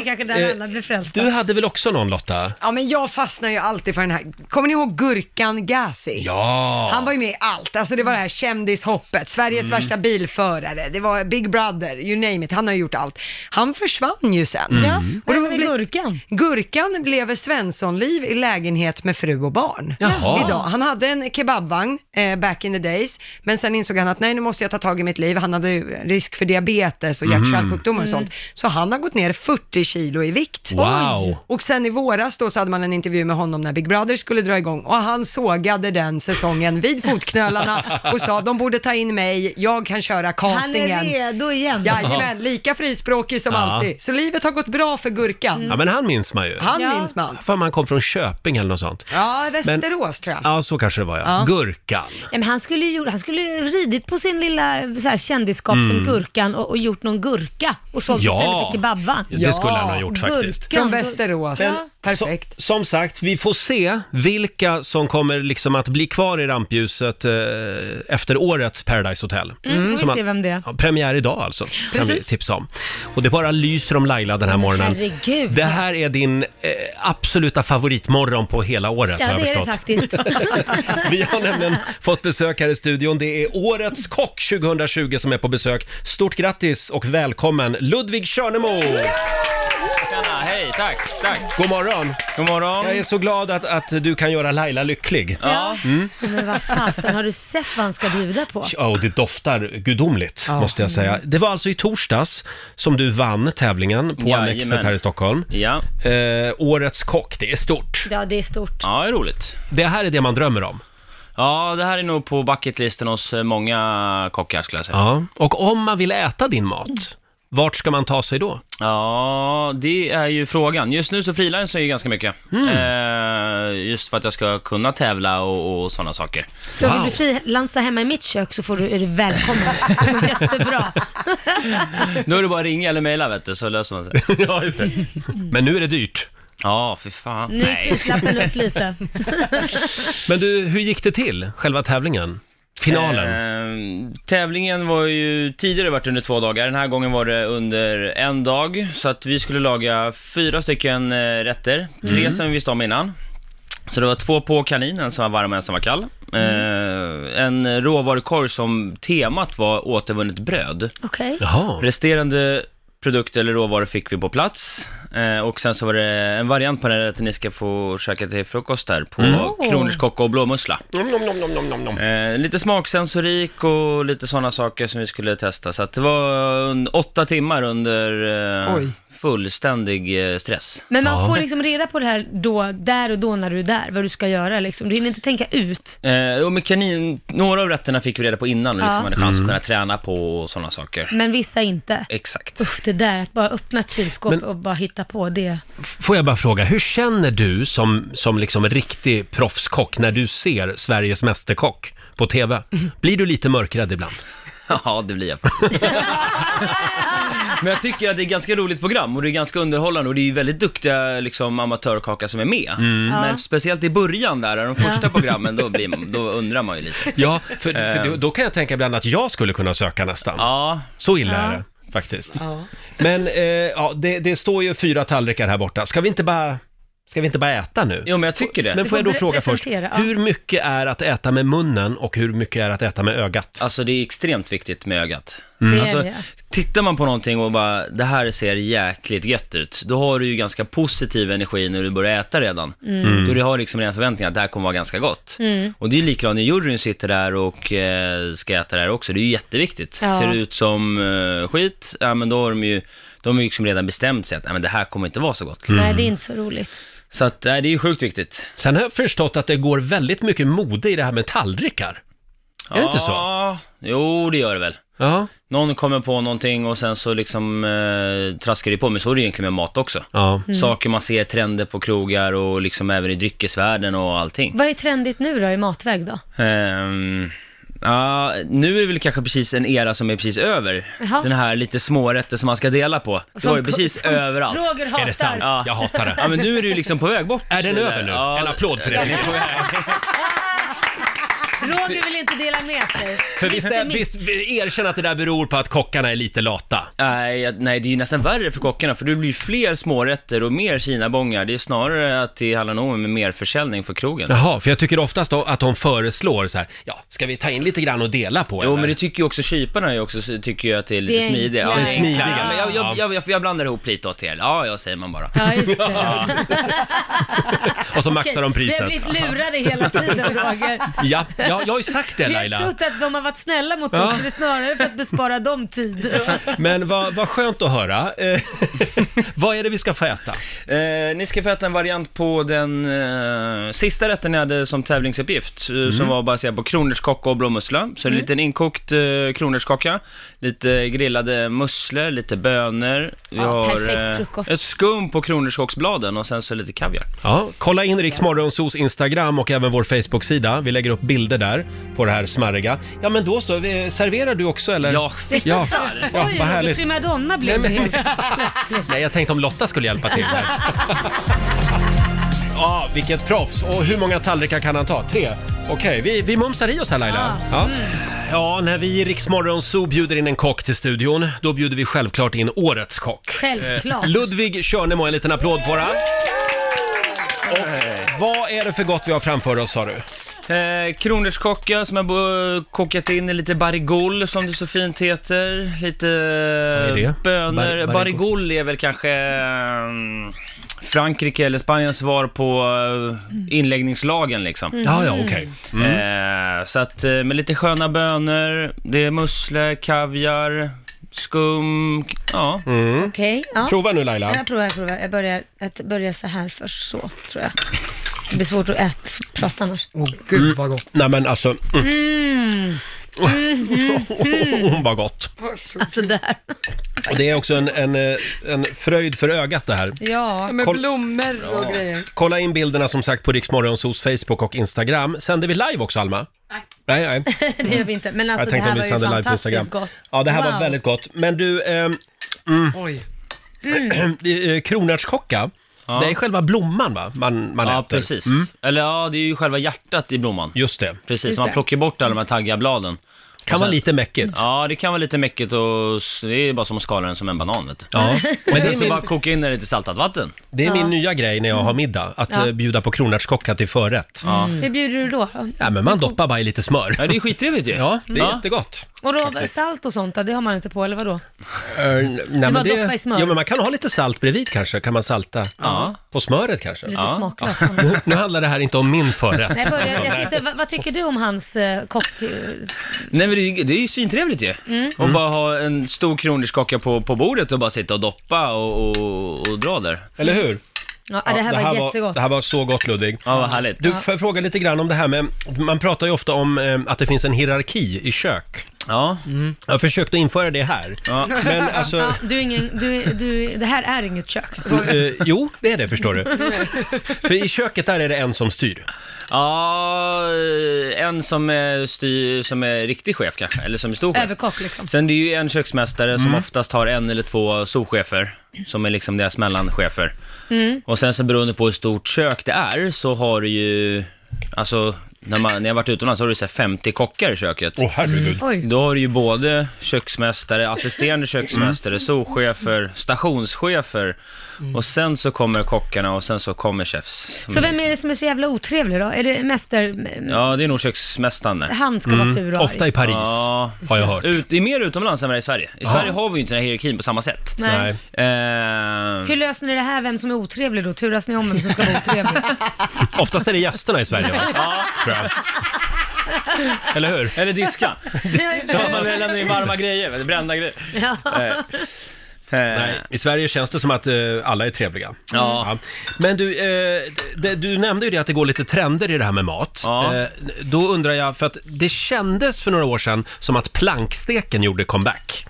C: är kanske där alla blir frälsta.
A: Eh, Du hade väl också någon Lotta?
B: Ja, men jag fastnar ju alltid för den här. Kommer ni ihåg Gurkan Gazi?
A: Ja!
B: Han var ju med i allt. Alltså det var det här kändishoppet, Sveriges
A: Mm.
B: värsta bilförare, det var Big Brother, you name it. Han har gjort allt. Han försvann ju sen.
A: Mm.
C: Ja, och
B: då
C: då med
B: blir-
C: gurkan.
B: Gurkan lever Svenssonliv i lägenhet med fru och barn.
A: Jaha.
B: Idag. Han hade en kebabvagn eh, back in the days, men sen insåg han att nej, nu måste jag ta tag i mitt liv. Han hade ju risk för diabetes och
A: Mhm.
B: hjärt-kärlsjukdomar och sånt. Så han har gått ner 40 kilo i vikt.
A: Wow!
B: Och sen i våras då så hade man en intervju med honom när Big Brother skulle dra igång och han sågade den säsongen vid fotknölarna och sa de borde ta in mig, jag kan köra
C: Han är
B: castingen.
C: redo igen.
B: Jajamän, lika frispråkig som
A: Ja.
B: alltid. Så livet har gått bra för Gurkan.
A: Ja men han minns man ju.
B: Han
C: Ja.
B: minns man.
A: För man kom från Köping eller något sånt.
B: Ja, Västerås tror jag.
A: Ja, så kanske det var ja. Gurkan.
C: Ja, men han skulle ju gjort- han skulle ju ridit på sin lilla så här, kändisskap som Gurkan och, och gjort någon gurka och sålt
A: Mm. Ja.
C: istället för kebabvan.
A: Det skulle han ha gjort faktiskt.
C: Gurkan.
B: Från Västerås.
C: Ja.
B: perfekt.
A: Så, som sagt, vi får se vilka som kommer liksom att bli kvar i rampljuset eh, efter årets Paradise Hotel.
C: Mm,
A: Som
C: får vi
A: man-
C: se vem det är.
A: Ja, premiär idag alltså, kan vi
C: Precis.
A: tipsa om. Och det bara lyser om Laila den här morgonen.
C: herregud.
A: Det här är din eh, absoluta favoritmorgon på hela året
C: Ja,
A: har jag
C: det är det
A: förstått.
C: faktiskt.
A: Vi har nämligen fått besök här i studion. Det är Årets Kock 2020 som är på besök. Stort grattis och välkommen Ludvig Körnemo!
J: Tjena, hej, tack, tack.
A: God morgon!
J: God morgon.
A: Jag är så glad att, att du kan göra Laila lycklig. Mm.
J: Ja.
C: Men vad fasen, har du sett vad han ska bjuda på?
A: Ja, och det doftar gudomligt, måste jag säga. Det var alltså i torsdags som du vann tävlingen på
J: Jajamän.
A: Annexet här i Stockholm.
J: Ja.
A: Eh, årets kock, det är stort.
C: Ja, det är stort.
J: ja, det är roligt.
A: Det här är det man drömmer om.
J: Ja, det här är nog på bucketlisten hos eh, många kockar skulle jag säga.
A: Ja. Och om man vill äta din mat, vart ska man ta sig då?
J: Ja, det är ju frågan. Just nu så frilansar jag ju ganska mycket.
A: Hmm.
J: Eh, just för att jag ska kunna tävla och, och sådana saker.
C: Så
A: Wow.
C: vill du frilansa hemma i mitt kök så får du, är du välkommen. Jättebra.
J: Nu är det bara att ringa eller mejla vet du, så löser man sig.
A: ja, just det. Men nu är det dyrt.
J: Ja, fy fan.
C: Nu gick prislappen upp lite.
A: Men du, hur gick det till, själva tävlingen? Finalen?
J: Eh, tävlingen var ju tidigare varit under två dagar, den här gången var det under en dag. Så att vi skulle laga fyra stycken eh, rätter, tre
A: Mm.
J: som vi visste om innan. Så det var två på kanin, en som var varm och en som var kall.
C: Mm.
J: Eh, en råvarukorg som temat var återvunnet bröd.
C: Okej.
A: Jaha.
J: Resterande produkter eller råvaror fick vi på plats. Eh, och sen så var det en variant på den här rätten ni ska få käka till frukost där på
C: Mm.
J: kronärtskocka och blåmussla. Eh, lite smaksensorik och lite sådana saker som vi skulle testa. Så att det var un- åtta timmar under eh,
B: Oj.
J: fullständig eh, stress.
C: Men man
A: Ja.
C: får liksom reda på det här då, där och då när du är där, vad du ska göra liksom. Du hinner inte tänka ut.
J: Eh, och med kanin, några av rätterna fick vi reda på innan och liksom
C: Ja.
J: hade chans
A: Mm.
J: att kunna träna på och sådana saker.
C: Men vissa inte.
J: Exakt.
C: Uff, det där att bara öppna ett kylskåp
A: Men-
C: och bara hitta på det.
A: Får jag bara fråga, hur känner du som, som liksom riktig proffskock när du ser Sveriges Mästerkock på TV? Blir du lite mörkrädd ibland?
J: Ja, det blir jag faktiskt. Men jag tycker att det är ett ganska roligt program och det är ganska underhållande och det är ju väldigt duktiga liksom, amatörkockar som är med.
A: Mm.
J: Men speciellt i början där, de första programmen, då, blir, man- då undrar man ju lite. Eh.
A: Ja, för, för då, då kan jag tänka ibland att jag skulle kunna söka nästan.
J: Ja,
A: Så illa är det faktiskt. Men eh, ja, det, det står ju fyra tallrikar här borta. Ska vi inte bara, ska vi inte bara äta nu?
J: jo men jag tycker det.
A: Men får jag då
C: pre-
A: fråga först,
C: presentera, ja.
A: hur mycket är att äta med munnen och hur mycket är att äta med ögat? Mm.
J: Alltså det är extremt viktigt med ögat.
C: Det är
J: Alltså,
C: det.
J: tittar man på någonting och bara, det här ser jäkligt gött ut, då har du ju ganska positiv energi när du börjar äta redan.
C: Mm.
A: Mm.
J: Då du har liksom redan förväntningar att det här kommer vara ganska gott. Och det är ju likadant när juryn sitter där och eh, ska äta det här också, det är ju jätteviktigt.
C: Ja.
J: Ser det ut som eh, skit, ja men då har de ju de har ju liksom redan bestämt sig att nej, men det här kommer inte vara så gott. liksom.
C: Nej, det är inte så roligt.
J: Så att, nej, det är ju sjukt viktigt.
A: Mm. Sen har jag förstått att det går väldigt mycket mode i det här med tallrikar. Är det inte så?
J: Ja, jo det gör det väl.
A: Ja.
J: Någon kommer på någonting och sen så liksom eh, traskar det på, men så är det egentligen med mat också.
A: Ja.
C: Mm.
J: Saker man ser, trender på krogar och liksom även i dryckesvärlden och allting.
C: Vad är trendigt nu då i matväg då?
J: Ehm, ja, nu är det väl kanske precis en era som är precis över.
C: Jaha.
J: Den här lite smårätter som man ska dela på. Det var ju precis överallt.
C: Roger hatar.
A: Är det sant?
J: Ja.
A: Jag hatar det.
J: Ja men nu är det ju liksom på väg bort.
A: Är den över nu?
J: Ja,
A: En applåd för det.
J: den är på väg.
C: Roger vill inte dela med sig.
A: För visst,
C: Inte
A: är,
C: mitt.
A: visst erkänn att det där beror på att kockarna är lite lata.
J: Nej, jag- nej, det är ju nästan värre för kockarna för det blir fler smårätter och mer kinabongar. Det är snarare att det handlar nog om mer försäljning för krogen.
A: Jaha, för jag tycker oftast då att de föreslår så här, ja, ska vi ta in lite grann och dela på?
J: Jo
A: eller?"
J: men det tycker ju också kyparna ju också, så tycker ju att det är
C: Det
J: lite
C: är
J: smidigare.
C: enklare.
J: det är enklare.
A: Smidigare.
J: Men jag, jag, jag, jag, jag blandar ihop lite åt er. Ja, jag säger man bara.
C: Ja, just det.
A: och så maxar de
C: Vi
A: priset.
C: har blivit lurade hela tiden, Roger.
A: Ja, ja, jag har ju sagt det
C: Vi har
A: Laila.
C: trott att de har varit snälla mot
A: Ja.
C: oss, men det är snarare för att bespara dem tid.
A: Men vad, vad skönt att höra. Eh, vad är det vi ska få äta?
J: Eh, ni ska få äta en variant på den eh, sista rätten ni hade som tävlingsuppgift, eh,
C: Mm.
J: som var baserad på kronärtskocka och blåmussla. Så en liten inkokt eh, kronärtskocka, lite grillade musslor, lite bönor. Vi
C: Ja, perfekt
J: eh,
C: frukost.
J: ett skum på kronärtskocksbladen och sen så lite kaviar.
A: Ja, kolla in Riks Morgonzos Instagram och även vår Facebook-sida. Vi lägger upp bilder där på det här smarriga. Ja, men då så. eh, Serverar du också eller?
J: Jag
A: Ja,
J: fixar!
A: ja
C: Oj,
A: vad
C: Roger,
A: härligt.
C: primadonna blev det helt plötsligt.
A: Nej, jag tänkte om Lotta skulle hjälpa till här. Ja, vilket proffs! Och hur många tallrikar kan han ta? Tre? Okej, vi, vi mumsar i oss här Laila. Ja. ja, när vi i Riksmorgon Zoo bjuder in en kock till studion, då bjuder vi självklart in årets kock. Eh,
C: Självklart.
A: Ludvig Körnemo, en liten applåd på honom. Och vad är det för gott vi har framför oss sa du?
J: Eh, kronärtskocka som jag bo- kokat in i lite barigol som det så fint heter. Lite eh,
A: är det? Bar-
J: bönor.
A: barigol?
J: barigol är väl kanske eh, Frankrike eller Spaniens svar på eh, inläggningslagen liksom.
A: Ja, ja, okej. Mm.
J: Eh, så att eh, med lite sköna bönor, det är musslor, kaviar, skum, ja.
A: Mm.
C: Okej, ja.
A: Eh, Prova nu Laila.
C: Jag provar, jag provar. Jag börjar, att börja så här först, så tror jag. Det blir svårt att äta, prata annars.
B: Åh gud vad gott.
A: Mm. Nej men alltså... Oh. Mm.
C: Mm,
A: Hon var gott.
C: Alltså där.
A: Och det är också en, en, eh, en fröjd för ögat det här.
C: Ja.
B: Med
A: Koll-
B: blommor och grejer.
A: Kolla in bilderna som sagt på Riksmorgonsos Facebook och Instagram. Sänder vi live också Alma? Nej. Nej, nej.
C: Det gör vi inte. Men alltså
A: Jag
C: det
A: tänkte
C: här
A: om vi
C: var ju
A: sänder live på
C: fantastiskt
A: Instagram.
C: gott.
A: Ja, det här var
C: Wow.
A: väldigt gott. Men du, eh,
B: Oj.
A: eh, kronärtskocka, det är själva blomman va? Man, man äter.
J: Ja,
A: Mm.
J: precis. Eller ja, det är ju själva hjärtat i blomman.
A: Just det.
J: Precis,
C: Just
J: man
C: det.
J: plockar bort alla de här taggiga bladen.
A: Kan
J: Och
A: vara
J: sen-
A: lite mäckigt.
J: Ja, det kan vara lite mäckigt och s- det är bara som att skala den som en banan vet du.
A: Ja. Men
J: Men
A: det
J: sen
A: är
J: så bara
A: min,
J: koka in den i lite saltat vatten.
A: det är min
C: Ja. Mm.
A: nya grej när jag har middag, att
C: Ja. Mm.
A: eh, bjuda på kronärtskocka till förrätt.
J: Ja.
C: Hur bjuder du då? då?
A: Ja, men man doppar bara i lite smör.
J: ja, det är skittrevligt ju.
A: Ja, det är jättegott.
C: Och då, salt och sånt, det har man inte på, eller vadå?
A: Eh,
C: Mm.
A: nej, men
C: bara doppa i smör.
A: Ja, men man kan ha lite salt bredvid kanske, kan man salta.
J: Ja.
A: På smöret kanske.
C: Lite
J: Ja.
C: smaklöst.
A: Nu, nu handlar det här inte om min
C: Nej,
A: förrätt.
C: jag börjar, jag sitter, vad, vad tycker du om hans eh, kock... Mm. eh,
J: Nej men det är ju, det är ju svintrevligt ju. Och
A: Mm.
J: bara ha en stor kronärtskocka på, på bordet och bara sitta och doppa och, och, och dra där.
A: Eller hur?
C: Ja, det här var jättegott.
A: det här var så gott Ludvig.
J: Ja, vad härligt.
A: Du, får jag fråga lite grann om det här med, man pratar ju ofta om eh, att det finns en hierarki i kök. Mm.
J: Ja.
A: Jag har försökt att införa det här,
J: Ja.
A: men alltså,
C: Du är ingen, du, du, det här är inget kök.
A: eh, jo, det är det förstår du. För i köket där är det en som styr.
J: ja, en som är, styr, som är riktig chef kanske, eller som är stor chef.
C: Överkock liksom.
J: Sen det är ju en köksmästare
A: Mm.
J: som oftast har en eller två souschefer, som är liksom deras mellanchefer.
B: Mm.
J: Och sen så beroende på hur stort kök det är, så har du ju, alltså, när, man, när jag varit utomlands så har du så här 50 kockar i köket.
A: Åh herregud.
C: Mm.
A: Mm.
C: Oj.
J: Då har du ju både köksmästare, assisterande köksmästare, souschefer, stationschefer
A: Mm.
J: och sen så kommer kockarna och sen så kommer chefs.
C: Så vem är det som är så jävla otrevlig då? Är det mäster...
J: Ja, det är nog köksmästaren där.
C: Mm. Han ska vara sur och
A: Mm. Ofta
C: arg.
A: i Paris,
J: Ja.
A: har jag hört.
J: Ut, det är mer utomlands än vad det är i Sverige. I Sverige har vi ju inte den här hierarkin på samma sätt.
C: Nej.
A: Nej.
J: Eh,
C: Hur löser ni det här, vem som är otrevlig då? Turas ni om vem som ska vara otrevlig?
A: Oftast är det gästerna i Sverige va? Ja. Tror jag. Eller hur?
J: Eller diska. ja, man lämnar in varma grejer, eller brända grejer.
C: Mm. Ja.
J: Eh, eh,
A: Nej, i Sverige känns det som att eh, alla är trevliga.
J: Ja.
A: Men du, eh, det, du nämnde ju det att det går lite trender i det här med mat.
J: Ja.
A: Eh, då undrar jag, för att det kändes för några år sedan som att planksteken gjorde comeback.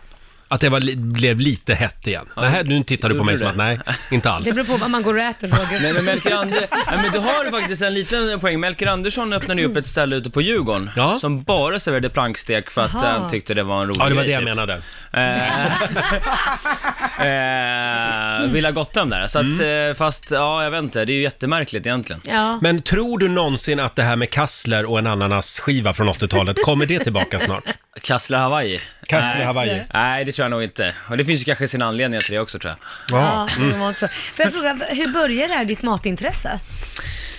A: Att det var, li- blev lite hett igen. Nej, nu tittar du på mig
J: gjorde
A: som att nej, inte
C: Det
A: alls.
C: beror på vad man går och äter, Roger.
J: Nej men Melker Ander, nej, men du har faktiskt en liten poäng. Melker Andersson öppnade ju upp ett ställe ute på Djurgården
A: Ja.
J: som bara serverade plankstek för att
C: Aha.
J: han tyckte det var en rolig
A: Ja, det var det
J: grej,
A: jag
J: typ.
A: menade.
J: Eh, eh, Villa Gotham där. Så att,
A: Mm.
J: eh, fast ja, jag vet inte, det är ju jättemärkligt egentligen.
C: Ja.
A: Men tror du någonsin att det här med kassler och en ananasskiva från 80-talet, kommer det tillbaka snart?
J: Kassler Hawaii.
A: Kassler
J: Nej.
A: Hawaii.
J: Nej, det tror jag nog inte. Och det finns ju kanske sina anledningar till det också tror jag.
C: Ja, det
A: Mm.
C: var inte så. Får jag fråga, hur började det här ditt matintresse?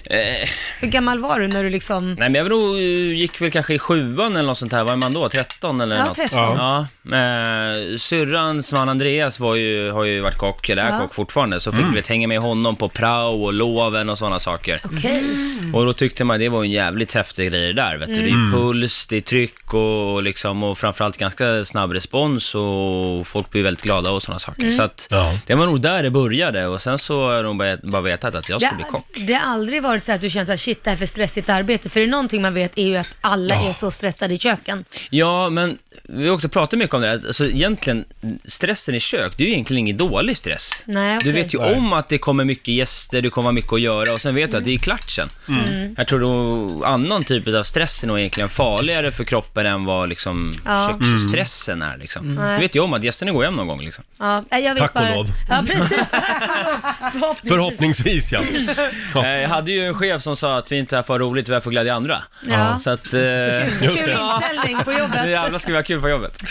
J: Eh,
C: Hur gammal var du när du liksom...
J: nej men jag var nog, eh, gick väl kanske i sjuan eller något sånt här. Var är man då? 13 eller
C: Ja,
J: något?
C: 13.
J: Ja. Eh, syrrans man Andreas var ju, har ju varit kock, eller är
C: Ja.
J: kock fortfarande, så fick vi hänga med honom på prao och loven och sådana saker.
C: Okej. Mm.
J: Och då tyckte man det var en jävligt häftig grej det där, vet du. Det är ju puls, det är tryck och, liksom, och framförallt ganska snabb respons och folk blir väldigt glada och sådana saker.
C: Mm.
J: Så att
A: Ja.
J: det var nog där det började och sen så har de bara- bara vetat att jag skulle bli kock.
C: Det, det har aldrig varit så här att du känt så här, shit det här är för stressigt arbete. För är det någonting man vet är ju att alla är så stressade i köken.
J: Ja, men vi har också pratat mycket om det här, alltså egentligen, stressen i kök, det är ju egentligen ingen dålig stress.
C: Nej, okej.
J: Du vet ju
A: Nej.
J: om att det kommer mycket gäster, du kommer ha mycket att göra och sen vet du att det är klart sen.
A: Mm.
C: Mm.
J: Jag tror då annan typ av stress är nog egentligen farligare för kroppen än vad liksom
C: Ja. Mm.
J: köksstressen är liksom. Du vet ju om att gästerna går hem någon gång liksom.
C: Ja, nej, jag vet
A: Tack och
C: bara...
A: lov.
C: Ja, precis. Tack och lov. Förhoppningsvis.
A: Förhoppningsvis ja. Ja.
J: Eh, Jag hade ju en chef som sa att vi inte är här för att ha roligt, vi är här för att glädja andra.
C: Ja.
J: Så att... Eh,
C: Kul
A: Just det.
C: inställning på jobbet.
J: nu jävlar ska vi ha kul på jobbet.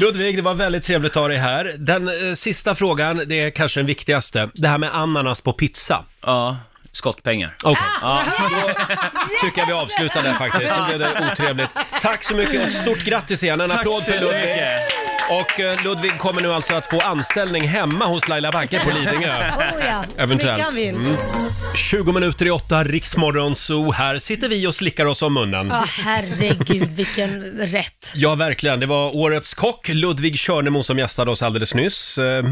A: Ludvig, det var väldigt trevligt att ha dig här. Den eh, sista frågan, det är kanske den viktigaste. Det här med ananas på pizza.
J: Ja, skottpengar.
A: Okej,
C: Ah,
A: då tycker jag vi avslutar där faktiskt. Nu blev det otrevligt. Tack så mycket och stort grattis igen. En applåd för Ludvig. Och eh, Ludvig kommer nu alltså att få anställning hemma hos Laila Bagge på Lidingö.
C: Oh, ja.
A: Eventuellt.
C: Smycka vill.
A: 20 minuter i åtta, Riksmorgon Zoo. Här sitter vi och slickar oss om munnen.
C: Ja, herregud vilken rätt.
A: Ja, verkligen. Det var årets kock, Ludvig Körnemo, som gästade oss alldeles nyss. Eh, eh,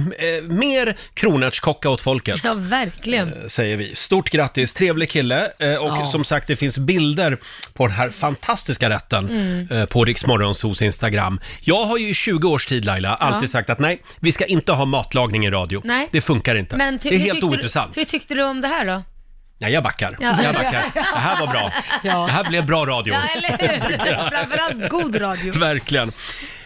A: mer kronärtskocka åt folket.
C: Ja, verkligen.
A: säger vi. Stort grattis, trevlig kille. Eh, Och som sagt, det finns bilder på den här fantastiska rätten
C: Mm.
A: eh, på Riksmorgonsos Instagram. Jag har ju i 20 års tid, Laila, alltid sagt att nej, vi ska inte ha matlagning i radio.
C: Nej.
A: Det funkar inte.
C: Men ty-
A: det är
C: hur
A: helt
C: tyckte
A: ointressant.
C: Du, hur tyckte du om det här då?
A: Nej, jag backar.
C: Ja.
A: Jag backar. Det här var bra. Det här blev bra radio.
C: Ja, eller hur? Framförallt god radio.
A: Verkligen.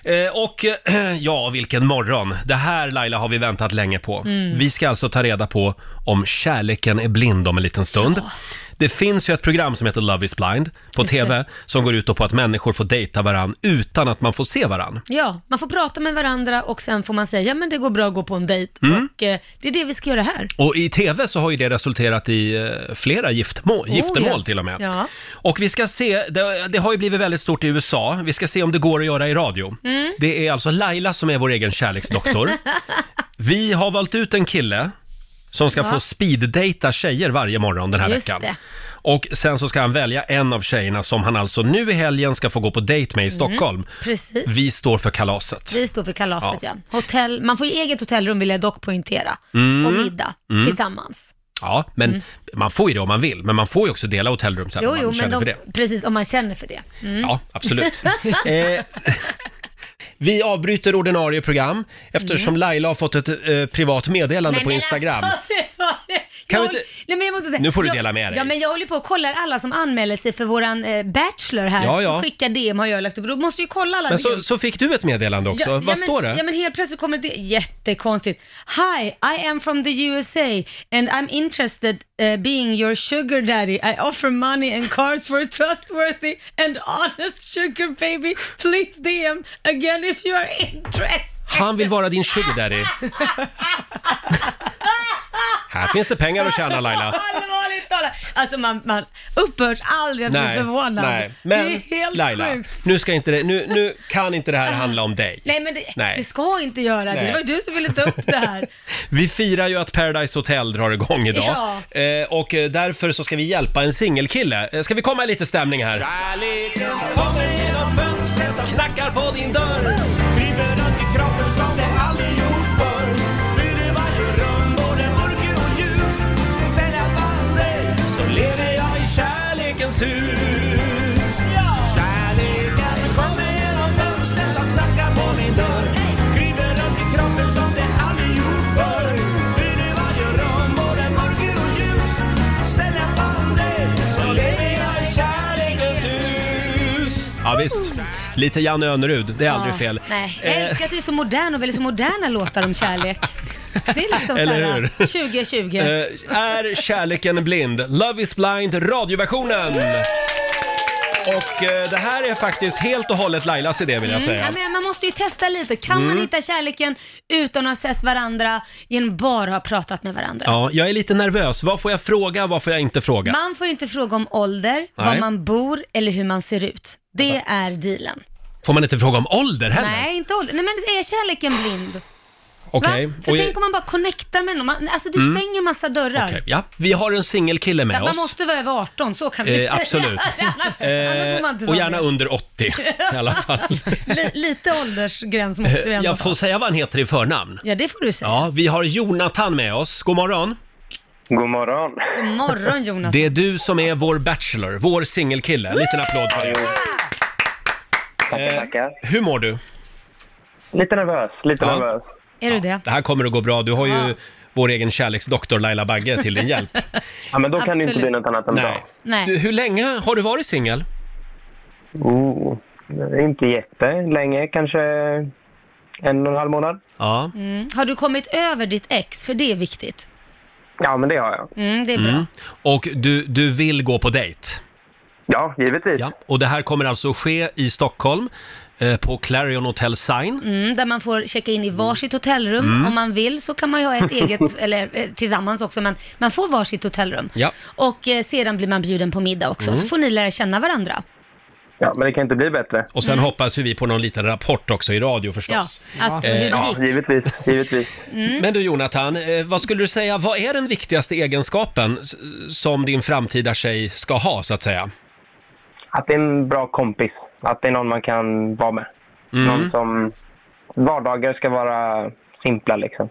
A: Eh, Och eh, ja, vilken morgon. Det här Laila har vi väntat länge på.
C: Mm.
A: Vi ska alltså ta reda på om kärleken är blind om en liten stund. Det finns ju ett program som heter Love is blind på TV som går ut då på att människor får dejta varann utan att man får se varann.
C: Ja, man får prata med varandra och sen får man säga, men det går bra att gå på en dejt. Och eh, det är det vi ska göra här.
A: Mm. Och i TV så har ju det resulterat i eh, flera giftmål, giftermål
C: Oh, ja.
A: till och med.
C: Ja.
A: Och vi ska se, det, det har ju blivit väldigt stort i USA, vi ska se om det går att göra i radio.
C: Mm.
A: Det är alltså Laila som är vår egen kärleksdoktor. vi har valt ut en kille som ska få speeddejta tjejer varje morgon den här
C: Just
A: veckan.
C: det.
A: Och sen så ska han välja en av tjejerna som han alltså nu i helgen ska få gå på dejt med i Stockholm.
C: Mm. Precis.
A: Vi står för kalaset.
C: Vi står för kalaset ja. Hotell, man får ju eget hotellrum vill jag dock poängtera.
A: Mm.
C: Och middag tillsammans. Mm.
A: Ja, men man får ju det om man vill, men man får ju också dela hotellrum sen
C: Jo,
A: om man
C: jo, men
A: känner för
C: de,
A: det.
C: precis om man känner för det. Mm.
A: Ja, absolut. eh, vi avbryter ordinarie program eftersom Laila har fått ett eh, privat meddelande på
C: Mm. men
A: Instagram.
C: Alltså, det var det.
A: Kan
C: Jag
A: vi
C: håller-
A: inte-
C: Nej, men jag måste säga,
A: Nu får du
C: jag,
A: dela med dig.
C: Ja, men jag håller på och kollar alla som anmäler sig för våran eh, Bachelor här.
A: Ja,
C: Ja,
A: ja.
C: ja. Skickar DM har jag lagt upp. Då måste ju kolla alla.
A: Men
C: DM.
A: så, så fick du ett meddelande också. Vad
C: ja,
A: står
C: men,
A: det?
C: Ja men helt plötsligt kommer det, jättekonstigt. Hi, I am from the USA and I'm interested uh, being your sugar daddy. I offer money and cars for a trustworthy and honest sugar baby. Please DM again if you are interested.
A: Han vill vara din sugar daddy. Här finns det pengar att tjäna Laila.
C: Allvarligt talat. Alltså man, man upphörs aldrig att bli
A: Nej,
C: förvånad.
A: nej.
C: det
A: Men
C: är helt
A: Laila,
C: sjukt.
A: nu, ska inte det, nu, nu kan inte det här handla om dig.
C: Nej men det,
A: Nej.
C: det ska inte göra det.
A: Nej.
C: Det var ju du som ville ta upp det här.
A: Vi firar ju att Paradise Hotel drar igång idag. Eh, och eh, därför så ska vi hjälpa en singelkille. Eh, Ska vi komma i lite stämning här? Kärleken kommer genom fönstret och knackar på din dörr.
D: Driver runt i kroppen som det aldrig gjort förr. Fyller varje rum både mörker och ljus. Sen jag vann dig så lever jag i kärlekens hus. Kärleken kommer genom fönstret och knackar på min dörr. Driver runt i kroppen som det aldrig gjort förr. Fyller varje rum både mörker och ljus. Sen jag vann dig så lever jag i kärlekens hus.
A: Ja, visst. Lite Janne Önerud, det är aldrig fel.
C: Nej, jag
A: Eh,
C: älskar att du är så modern och väljer så moderna låtar om kärlek. Det är liksom
A: Eller
C: såhär,
A: hur?
C: 2020.
A: eh, är kärleken blind? Love is blind, radioversionen! Och eh, det här är faktiskt helt och hållet Lailas idé vill jag säga.
C: Mm,
A: Mm.
C: ja, men man måste ju testa lite. Kan man hitta kärleken utan att ha sett varandra, genom bara att ha pratat med varandra?
A: Ja, jag är lite nervös. Vad får jag fråga? Vad får jag inte fråga?
C: Man får inte fråga om ålder, var man bor eller hur man ser ut. Det är dealen.
A: Får man inte fråga om ålder heller?
C: Nej, inte ålder. Nej, men är kärleken blind?
A: Okej.
C: Va? För
A: Och- Mm.
C: tänk om man bara connectar med någon. Man, alltså du stänger massa dörrar.
A: Okej, ja. Vi har en singelkille med
C: Man
A: oss.
C: måste vara över 18, så kan vi säga.
A: Eh, absolut.
C: Annars får man inte
A: och
C: vara
A: gärna
C: med.
A: under 80 i alla fall.
C: Li- lite åldersgräns måste vi ändå
A: Jag
C: få...
A: får säga vad han heter i förnamn.
C: Ja, det får du säga.
A: Ja, vi har Jonathan med oss. God morgon.
G: God morgon.
C: God morgon Jonas.
A: Det är du som är vår bachelor, vår singelkille. En liten applåd för dig. Eh,
K: Tackar, tackar.
A: Hur mår du?
K: Lite nervös, lite
A: Ja.
K: nervös.
C: Är du det?
A: Det här kommer att gå bra. Du har ju
C: Ja.
A: vår egen kärleksdoktor Laila Bagge till din hjälp.
K: Ja, men då kan det inte
C: Absolut.
K: bli något annat än
A: Nej.
C: Nej.
A: Du, hur länge har du varit singel?
K: bra. Oh, inte jättelänge, kanske en och en halv månad.
A: Ja.
C: Mm. Har du kommit över ditt ex? För det är viktigt.
K: Ja, men det har jag.
C: Mm, det är bra.
A: Och du, du vill gå på dejt?
K: Ja, givetvis.
A: Ja. Och det här kommer alltså att ske i Stockholm eh, på Clarion Hotel Sign.
C: Mm, där man får checka in i varsitt hotellrum.
A: Mm.
C: Om man vill så kan man ju ha ett eget, eller eh, tillsammans också, men man får varsitt hotellrum.
A: Ja. Mm.
C: Och eh, sedan blir man bjuden på middag också, så får ni lära känna varandra.
K: Ja, men det kan inte bli bättre.
A: Och sen hoppas ju vi på någon liten rapport också i radio förstås.
C: Mm. Ja, att
A: Eh,
C: hur det Mm.
K: Ja,
C: gick.
K: givetvis. givetvis.
A: Men du Jonathan, eh, vad skulle du säga, vad är den viktigaste egenskapen s- som din framtida tjej ska ha så att säga?
K: Att det är en bra kompis. Att det är någon man kan vara med.
A: Mm.
K: Någon som... Vardagar ska vara simpla, liksom.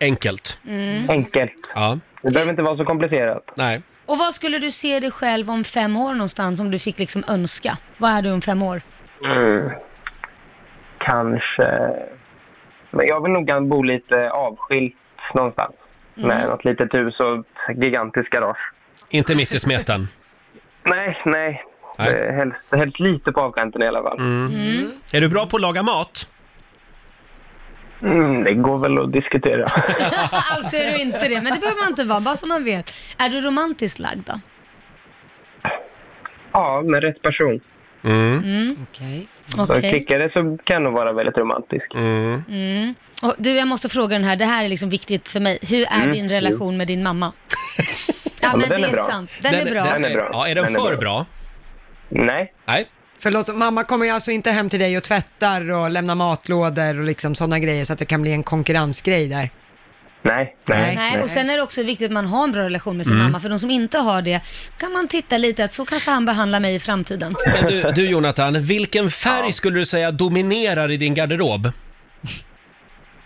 A: Enkelt.
C: Mm.
K: Enkelt.
A: Ja,
K: Det behöver inte vara så komplicerat.
A: nej.
C: Och vad skulle du se dig själv om fem år någonstans, om du fick liksom önska? Vad är du om fem år?
K: Mm. Kanske... Men jag vill nog gärna bo lite avskilt någonstans.
C: Mm.
K: Med något litet hus och ett gigantiskt garage.
A: Inte mitt i smeten.
K: Nej, nej.
A: Nej. Mm.
K: Eh, Helst, helst lite på avkanten i alla fall.
A: Är du bra på att laga mat?
K: Mm, det går väl att diskutera.
C: alltså är du inte det, men det behöver man inte vara, bara så man vet. Är du romantiskt lagd då?
K: ja, med rätt person.
A: Mm.
C: Mm.
B: Okej.
K: Så
C: Okej.
K: klickar det så kan det vara väldigt romantisk.
C: Mm. Och du, jag måste fråga den här. Det här är liksom viktigt för mig. Hur är din relation med din mamma? ja,
K: Mm, men
C: men det
K: den är
C: är
K: bra.
C: sant. Den, är bra.
K: Den är bra.
A: Ja, är den,
K: Den är
A: för
K: bra.
A: bra?
K: Nej.
A: Nej.
B: Förlåt, mamma kommer ju alltså inte hem till dig och tvättar och lämnar matlådor och liksom sådana grejer så att det kan bli en konkurrensgrej där.
K: Nej, nej, Mm.
C: Nej, och sen är det också viktigt att man har en bra relation med sin mamma. För de som inte har det kan man titta lite att så kanske han behandlar mig i framtiden.
A: Men du, du Jonathan, vilken färg skulle du säga dominerar i din garderob?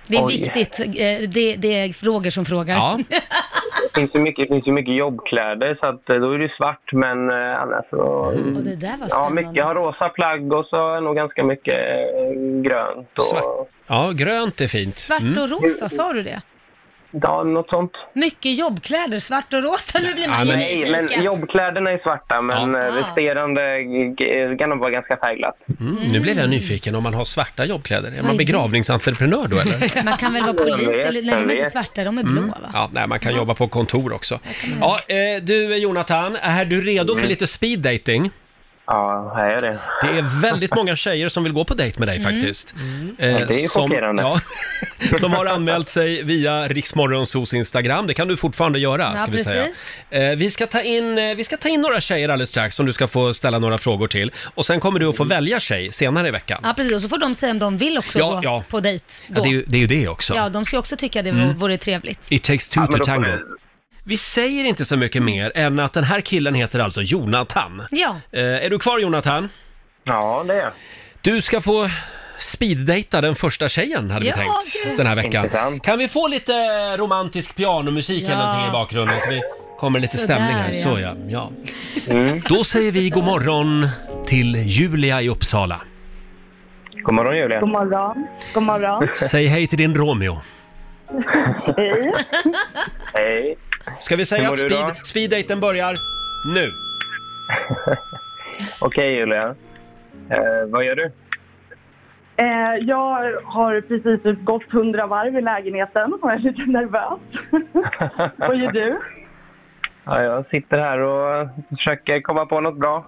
C: Det är
K: Oj.
C: viktigt. Eh, Det, det är frågor som frågar.
A: Ja,
K: Det finns ju mycket, det finns ju mycket jobbkläder så att eh, då är det ju svart men eh, annars så...
A: Mm.
C: Och det där var
K: Ja,
C: spännande.
K: mycket. Jag har rosa plagg och så är nog ganska mycket eh, grönt och...
A: Svart. ja grönt är fint. Mm.
C: Svart och rosa, sa du det?
K: Ja, något sånt.
C: Mycket jobbkläder, svart och rosa. Nu blir man
A: Ja,
C: ju
A: men-
K: Nej, men
C: nyfiken.
K: jobbkläderna är svarta men
A: Ja.
K: eh, resterande g- g- eh, kan nog vara ganska färgglatt.
A: Mm, nu blev jag nyfiken om man har svarta jobbkläder. Är man
C: Oj.
A: begravningsentreprenör då eller?
C: Man kan väl vara polis?
K: vet,
C: Eller, nej,
K: jag
C: de är inte
K: vet.
C: svarta, de är blå va?
A: Mm. Ja, nej, man kan jobba på kontor också. Ja, eh, du Jonathan, är du redo för lite speed dating?
K: Mm. Ja, här är det.
A: Det är väldigt många tjejer som vill gå på dejt med dig
C: Mm.
A: faktiskt. Eh,
K: det är ju chockerande.
A: Som, ja, som har anmält sig via Riksmorgonsos Instagram. Det kan du fortfarande göra,
C: Ja,
A: ska vi säga.
C: precis.
A: Eh, vi, ska ta in, eh, vi ska ta in några tjejer alldeles strax som du ska få ställa några frågor till. Och sen kommer du att få välja tjej senare i veckan.
C: Mm. Ja, precis. Och så får de säga om de vill också
A: Ja,
C: gå
A: ja.
C: på dejt.
A: Ja,
C: Då.
A: det, är ju, Mm. det är ju det också.
C: Ja, de ska ju också tycka det vore trevligt.
A: It takes two
K: Ja, men
A: to
K: då får
A: tango. Vi säger inte så mycket mer än att den här killen heter alltså Jonathan.
C: Ja,
A: Eh, är du kvar Jonathan?
K: Ja, det är jag.
A: Du ska få speeddejta den första tjejen hade vi
C: Ja,
A: tänkt
C: gud.
A: den här veckan.
K: Intressant.
A: Kan vi få lite romantisk pianomusik eller
C: Ja.
A: någonting i bakgrunden så vi kommer lite
C: Sådär,
A: stämning här.
C: ja.
A: Så ja. ja.
K: Mm.
A: Då säger vi god morgon till Julia i Uppsala.
K: God morgon Julia.
L: God morgon. God morgon.
A: Säg hej till din Romeo.
L: Hej.
K: Hej.
A: Ska vi
K: Hur
A: säga
K: mår
A: att
K: du då?
A: speed, speeddejten börjar nu?
K: Okej Julia. Eh, vad gör du?
L: Eh, jag har precis gått hundra varv i lägenheten och är lite nervös. Vad gör du?
K: Ja, jag sitter här och försöker komma på något bra.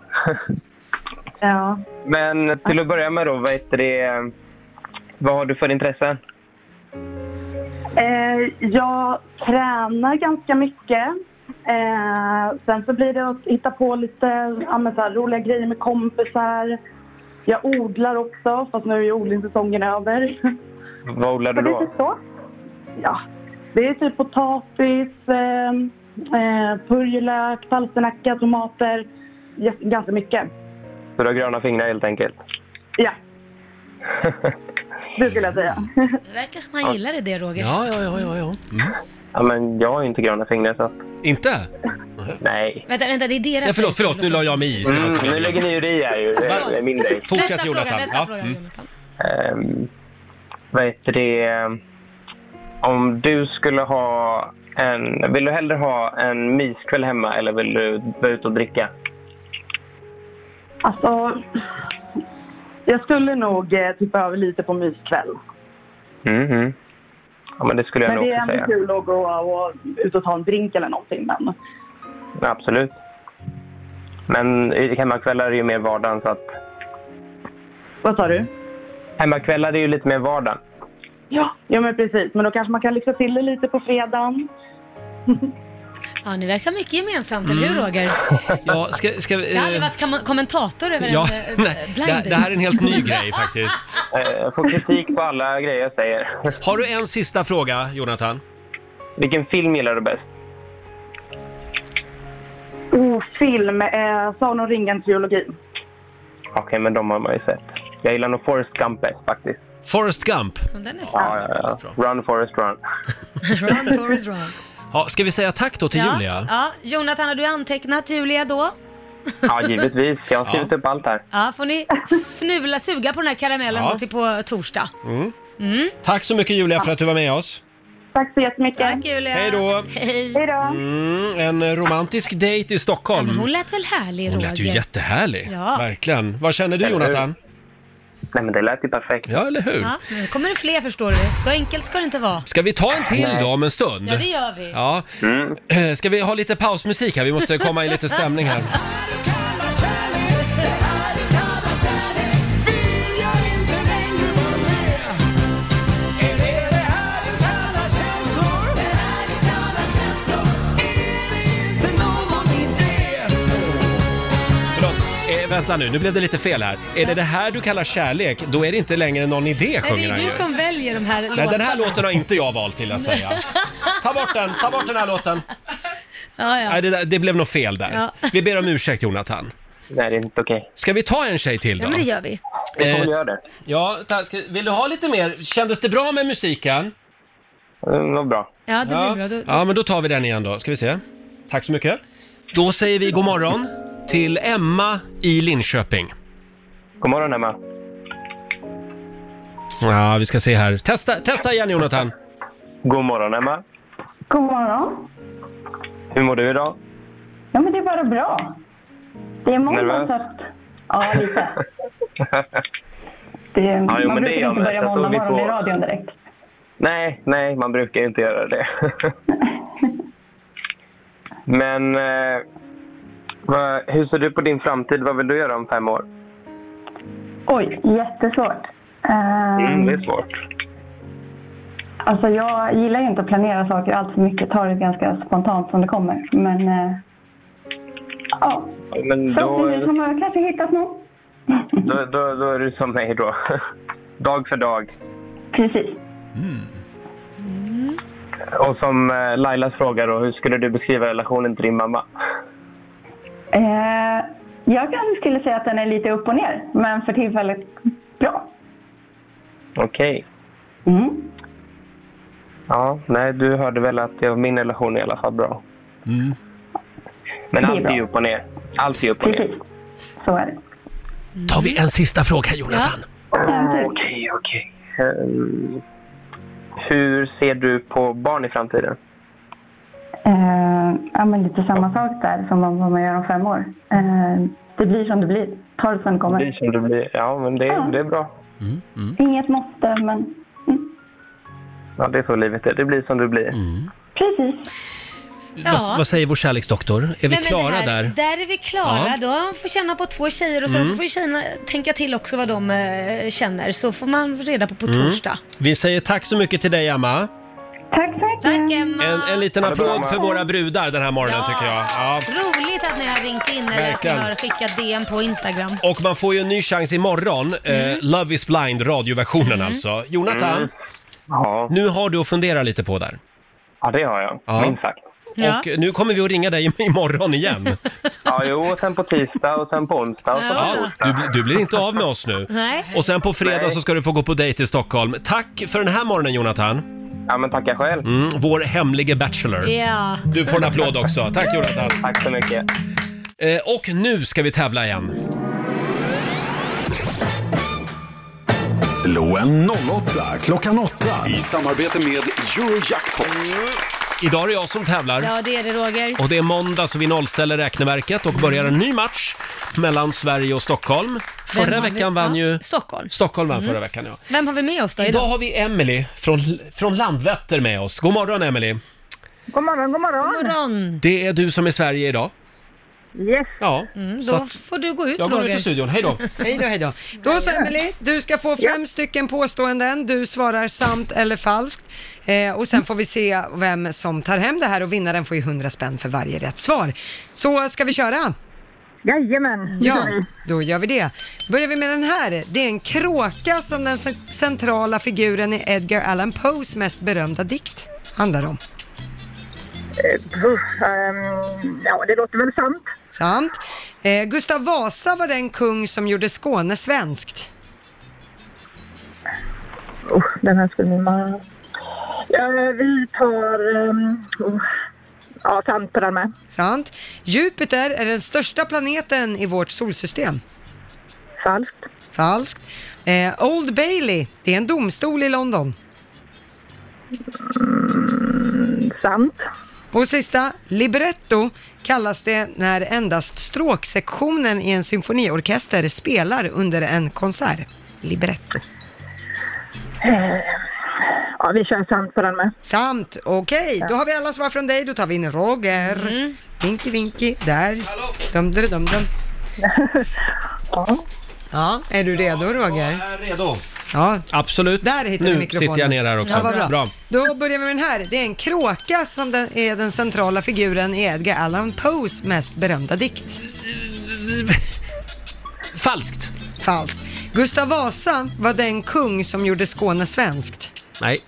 L: Ja.
K: Men till att börja med då, vad heter det? Vad har du för intressen?
L: Eh, jag tränar ganska mycket. Eh, sen så blir det att hitta på lite ja, men så här, roliga grejer med kompisar. Jag odlar också, fast nu är odlingssäsongen över.
K: Vad odlar du
L: Men
K: då?
L: lite så. Ja. Det är typ potatis, eh, eh, purjolök, palsternacka, tomater. Yes, ganska mycket.
K: Så du har gröna fingrar helt enkelt?
L: Ja, det skulle jag säga.
C: det verkar som han gillade det Roger.
A: Ja, ja, ja, ja. ja. Mm.
K: Ja, men jag har ju inte gröna fingrar så att...
A: Inte?
K: Nej.
C: Vänta, vänta, det är deras...
A: Nej, förlåt, förlåt, nu la jag mig i.
K: Mm, nu lägger ni ju det i här ju. Det är min grej.
A: Fortsätt
C: Nästa
A: Jonathan.
C: fråga, nästa
A: ja.
C: fråga,
A: mm.
C: Jonathan.
K: Ehm, vad heter det? Om du skulle ha en... Vill du hellre ha en myskväll hemma eller vill du vara ute och dricka?
L: Alltså, jag skulle nog eh, tippa över lite på myskväll.
K: Mhm. Ja, men det skulle jag
L: Men
K: nog
L: det är
K: också
L: ändå
K: säga.
L: kul att gå och ut och ta en drink eller någonting. Men
K: Absolut. Men i- hemmakvällar är ju mer vardagen så att...
L: vad sa
K: Mm.
L: du?
K: Hemmakvällar är ju lite mer vardagen.
L: Ja, ja men precis. Men då kanske man kan lyxa till det lite på fredagen.
C: Ja, ni verkar ha mycket gemensamt, eller
A: Mm.
C: hur Roger?
A: Ja, ska, ska vi...
C: Jag har aldrig varit kam- kommentator över
A: Ja,
C: en eh,
A: nej, det,
C: blind.
A: det här är en helt ny grej faktiskt.
K: Eh, Jag får kritik på alla grejer jag säger.
A: Har du en sista fråga, Jonathan?
K: Vilken film gillar du bäst? Mm.
L: Oh, film. Eh, Sagan om ringen-trilogin.
K: Okej, men de har man ju sett. Jag gillar nog Forrest Gump bäst faktiskt.
A: Forrest Gump.
C: Den är fan.
K: Ja, ja, ja. Run Forrest Run.
C: Run, Forrest, run.
A: Ja, ska vi säga tack då till
C: ja,
A: Julia?
C: Ja, Jonathan, har du antecknat Julia då?
K: Ja, givetvis. Jag har skrivit upp allt här.
C: Ja, får ni snula, suga på den här karamellen
A: Ja.
C: då till på torsdag.
A: Mm.
C: Mm.
A: Tack så mycket Julia för att du var med oss.
L: Tack så jättemycket.
C: Tack Julia.
A: Hej då!
C: Hej.
L: Hej då.
A: Mm, en romantisk dejt i Stockholm.
C: Men hon lät väl härlig
A: Hon
C: Roger?
A: lät ju jättehärlig.
C: Ja.
A: Verkligen. Vad känner du
K: Eller hur?
A: Jonathan?
K: Nej, men det lät ju perfekt.
A: Ja, eller hur?
C: Ja, nu kommer det fler förstår du. Så enkelt ska det inte vara.
A: Ska vi ta en till då om en stund?
C: Ja, det gör vi.
A: Ja.
K: Mm.
A: Eh, Ska vi ha lite pausmusik här? Vi måste komma i lite stämning här. Förlåt. Eh, vänta nu, nu blev det lite fel här. Är det det här du kallar kärlek, då är det inte längre någon idé
C: Nej, det
A: sjunger
C: är
A: han
C: ju
A: ju.
C: du som väljer de här
A: Nej,
C: låtarna.
A: den här låten har inte jag valt till att säga. Ta bort den, ta bort den här låten.
C: Ja,
A: Nej,
C: ja.
A: det, där- det blev nog fel där.
C: Ja.
A: Vi ber om ursäkt Jonathan.
K: Nej, det är inte okej.
A: Ska vi ta en tjej till då?
C: ja, men det gör vi.
K: Vi får väl
A: Eh.
K: göra det.
A: Ja, ta- ska, vill du ha lite mer? Kändes det bra med musiken?
K: Mm, Vad bra.
C: Ja, det blir bra. Då,
A: ja, men då tar vi den igen då. Ska vi se. Tack så mycket. Då säger vi god morgon till Emma i Linköping.
K: God morgon, Emma.
A: Ja, vi ska se här. Testa, testa igen Jonathan.
K: God morgon, Emma.
L: God morgon.
K: Hur mår du idag?
L: Ja, men det är bara bra. Det är måndag
K: Nervös?
L: så att... Ja, lite. Det,
K: jo,
L: man
K: men det är jag
L: brukar inte
K: med.
L: börja
K: Så
L: måndag
K: vi
L: morgon
K: får-
L: i radion direkt.
K: nej, nej, man brukar ju inte göra det. men eh, vad, hur ser du på din framtid? Vad vill du göra om fem år?
L: Oj, jättesvårt. Ehm,
K: Mm, det är svårt.
L: Alltså jag gillar ju inte att planera saker allt för mycket. Tar det ganska spontant som det kommer. Men eh, ja,
K: Men då,
L: förhoppningsvis har man kanske hittat någon.
K: då, då, då är du som mig då. dag för dag.
L: Precis.
K: Och som eh, Lailas fråga då, hur skulle du beskriva relationen till din mamma?
L: Eh, jag kanske skulle säga att den är lite upp och ner, men för tillfället bra.
K: Okej.
L: Mm.
K: Ja, nej, du hörde väl att jag, min relation är i alla fall bra. Men
L: Det är
K: allt är
L: bra.
K: ju upp och ner. Allt är ju upp och ner.
L: Precis. Så är det.
A: Tar vi en sista fråga Jonathan?
L: Ja, typ.
K: Okej, okej. Ehm, hur ser du på barn i framtiden?
L: Eh, ja, men lite samma sak där som vad vad man gör om fem år. Eh, det blir som det blir. Ta det som det
K: Det
L: kommer.
K: blir som det blir. Ja, men det,
L: Ja.
K: det är bra.
L: Inget måste, men mm.
K: Ja, det är så livet är. Det blir som det blir.
L: precis.
C: Ja.
A: Vad, vad säger vår kärleksdoktor? Är vi
C: Nej, men
A: klara
C: det här,
A: där?
C: Där är vi klara.
A: Ja. Mm.
C: Då får känna på två tjejer och sen så får ju tjejerna tänka till också vad de eh, känner. Så får man reda på på
A: Mm.
C: torsdag.
A: Vi säger tack så mycket till dig Emma.
L: Tack så mycket.
C: Tack Emma!
A: En, en liten
K: Ha det bra,
A: applåd
K: Emma.
A: för våra brudar den här morgonen
C: Ja.
A: tycker jag. Ja.
C: Roligt att ni har ringt in eller att ni
A: Verkligen.
C: har skickat DM på Instagram.
A: Och man får ju en ny chans imorgon.
C: Mm.
A: Eh, Love is blind, radioversionen alltså. Jonathan,
K: Mm. Ja.
A: nu har du att fundera lite på där.
K: ja, det har jag.
A: Ja.
K: Minst sagt.
C: Ja.
A: Och nu kommer vi att ringa dig imorgon igen.
K: Ja, jo, och sen på tisdag och sen på onsdag och sen på
A: Ja,
K: torsdag.
A: du, bli- du blir inte av med oss nu.
C: Nej.
A: Och sen på fredag
K: Nej.
A: så ska du få gå på dejt i Stockholm. Tack för den här morgonen Jonathan.
K: Ja, men tackar själv.
A: Mm, vår hemlige bachelor.
C: Ja.
A: Du får en applåd också. Tack Jonathan.
K: Tack så mycket.
A: Eh, och nu ska vi tävla igen.
M: Slå en 08 klockan Mm. 8 i samarbete med Eurojackpot.
A: Idag är det jag som tävlar.
C: Ja, det är det Roger.
A: Och det är måndag så vi nollställer räkneverket och börjar en ny match mellan Sverige och Stockholm.
C: Vem
A: Förra
C: har vi?
A: veckan vann
C: Ja,
A: ju...
C: Stockholm.
A: Stockholm vann
C: Mm.
A: förra veckan, ja.
C: Vem har vi med oss då idag?
A: Idag har vi Emily från, från Landvetter med oss. God morgon Emily.
N: God morgon, god morgon. God
C: morgon.
A: Det är du som är Sverige idag.
N: Yes.
A: Ja.
C: Mm,
A: så
C: då
A: att,
C: får du gå ut
A: jag går
C: Roger.
A: ut ur studion. Hej då.
B: Hej då, hej då. Då så Emily, du ska få fem stycken påståenden. Du svarar sant eller falskt. Eh, och sen får vi se vem som tar hem det här och vinnaren får ju 100 spänn för varje rätt svar. Så ska vi köra?
N: Jajamän, det
B: Ja,
N: gör vi.
B: då gör vi det. Börjar vi med den här. Det är en kråka som den cen- centrala figuren i Edgar Allan Poes mest berömda dikt handlar om.
N: Eh, puh, ehm, ja, det låter väl sant.
B: Sant. Eh, Gustav Vasa var den kung som gjorde Skåne svenskt.
N: Oh, den här skulle min mamma... Ja, Eh, vi tar... ehm, oh, ja, sant på den med.
B: Sant. Jupiter är den största planeten i vårt solsystem.
N: Falskt.
B: Falskt. Eh, Old Bailey, det är en domstol i London.
N: sant.
B: Och sista, libretto kallas det när endast stråksektionen i en symfoniorkester spelar under en konsert. Libretto.
N: Eh, ja, vi kör sant på den med.
B: Sant, okej. Då har vi alla svar från dig. Då tar vi in Roger.
A: Mm.
B: Vinky, vinky, där. Dum, dum, dum, dum.
N: ja.
B: ja, är du redo Roger?
A: Jag är redo.
B: Ja.
A: Absolut.
B: Där hittade
A: nu
B: du mikrofonen.
A: sitter jag ner här också.
B: Ja, vad bra.
A: bra.
B: Då börjar vi med den här. Det är en kråka som den, är den centrala figuren i Edgar Allan Poes mest berömda dikt.
A: Falskt.
B: Falskt. Gustav Vasa var den kung som gjorde Skåne svenskt.
A: Nej,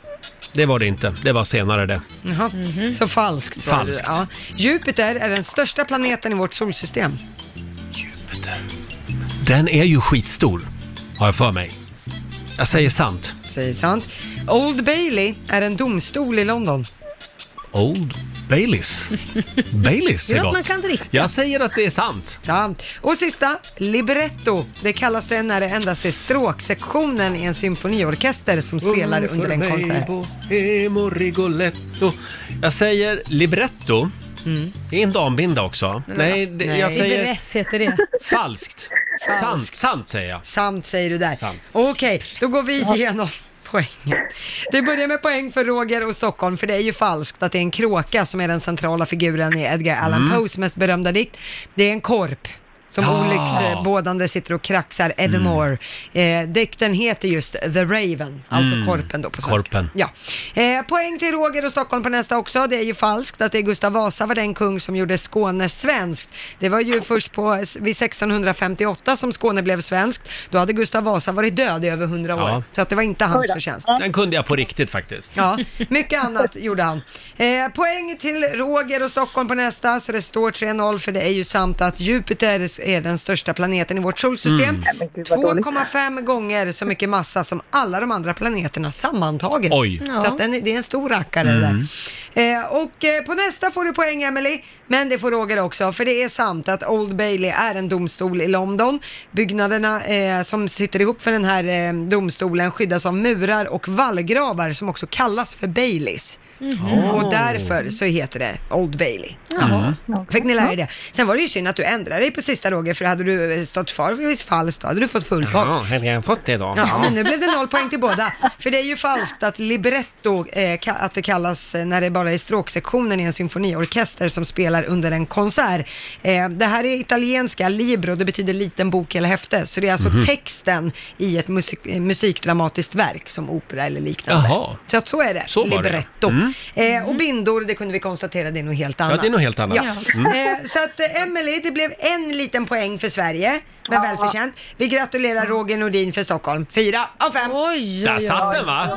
A: det var det inte. Det var senare det.
B: Jaha. Så falskt svarade du.
A: Mhm. Falskt.
B: Ja. Jupiter är den största planeten i vårt solsystem.
A: Den är ju skitstor, har jag för mig. Jag säger sant.
B: Säger sant. Old Bailey är en domstol i London.
A: Old Baileys. Baileys
B: Det är
A: är
B: något
A: gott.
B: man kan dricka.
A: Jag säger att det är sant.
B: Sant. Och sista, libretto. Det kallas det när det endast är stråksektionen i en symfoniorkester som spelar under en konsert.
A: Emo Rigoletto. Jag säger libretto.
B: Mm.
A: Det är en dambinda också. Nej, det, jag säger
C: Iberes heter det.
A: falskt. Sant, sant säger jag.
B: Sant säger du där. Okej, då går vi igenom poängen. Det börjar med poäng för Roger och Stockholm, för det är ju falskt att det är en kråka som är den centrala figuren i Edgar Allan
C: Mm.
B: Poes mest berömda dikt. Det är en korp som
C: Ja.
B: olycksbådande sitter och kraxar evermore. Eh, dikten heter just The Raven, alltså
A: Mm.
B: korpen då på svenska.
A: Korpen.
B: Ja. Eh, poäng till Roger och Stockholm på nästa också. Det är ju falskt att det är Gustav Vasa var den kung som gjorde Skåne svenskt. Det var ju först på, vid 1658 som Skåne blev svenskt. Då hade Gustav Vasa varit död i över 100 år.
A: Ja.
B: Så att det var inte hans förtjänst.
A: Den kunde jag på riktigt faktiskt.
B: Ja, mycket annat gjorde han. Eh, poäng till Roger och Stockholm på nästa, så det står 3-0 för det är ju sant att Jupiter är den största planeten i vårt solsystem.
A: Mm.
N: Nej, men gud, vad dåligt.
B: 2,5 gånger så mycket massa som alla de andra planeterna sammantaget.
A: Oj.
B: Så att den, är- det är en stor rackare det där.
A: Mm.
B: Eh, och eh, på nästa får du poäng Emily, men det får Roger också, för det är sant att Old Bailey är en domstol i London. Byggnaderna eh, som sitter ihop för den här eh, domstolen skyddas av murar och vallgravar som också kallas för Baileys.
D: Mm.
C: Mhm.
B: Och därför så heter det Old Bailey. Mm.
C: Jaha.
B: Fick ni lära er det? Sen var det ju synd att du ändrade dig på sista Roger, för hade du eh, stått kvar vid falskt då hade du fått full pott.
A: hade jag fått det då?
B: Ja, men nu blev det noll poäng till båda. För det är ju falskt att libretto, eh, ka- att det kallas eh, när det bara är stråksektionen i en symfoniorkester som spelar under en konsert. Eh, det här är italienska, libro, det betyder liten bok eller häfte. Så det är alltså
A: Mhm.
B: texten i ett musik, eh, musikdramatiskt verk som opera eller liknande.
A: Jaha.
B: Så att så är det,
A: Så var det.
B: libretto.
A: Mm.
B: Eh, och bindor, det kunde vi konstatera, det är nog helt annat.
A: det är nog helt annat.
B: Ja.
A: Mm.
B: Eh, så att eh, Emily, det blev en liten poäng för Sverige, men välförtjänt. Vi gratulerar Roger Nordin för Stockholm. Fyra av fem.
C: Oj,
A: Där satt den va?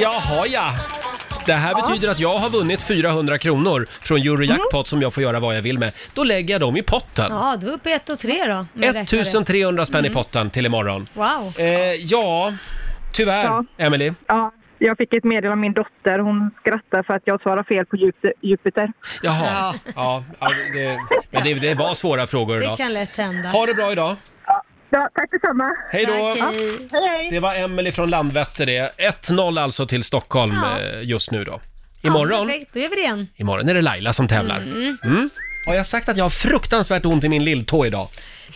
A: Jaha ja. Det här betyder att jag har vunnit 400 kronor från Eurojackpot som jag får göra vad jag vill med. Då lägger jag dem i potten.
C: Mhm. Ja, du är uppe i 1 och 3 då. om jag räknar rätt.
A: 1300 spänn i
C: Mm.
A: potten till imorgon.
C: Wow.
A: Eh, ja, tyvärr,
N: Ja.
A: Emily.
N: Ja, jag fick ett meddelande av min dotter. Hon skrattar för att jag svarar fel på Jup- Jupiter.
A: Jaha. Ja. Ja, det, men det, det var svåra frågor idag.
C: lätt hända.
A: Ha det bra idag.
N: Ja, tack detsamma.
A: Hej då.
N: Ja, hej, hej.
A: Det var Emily från Landvetter det. 1-0 alltså till Stockholm
C: Ja.
A: eh, just nu då.
C: Ja,
A: Imorgon,
C: perfekt. Då gör vi det igen.
A: imorgon är det Laila som tävlar.
C: Mm.
A: Mm. Har jag sagt att jag har fruktansvärt ont i min lilltå idag?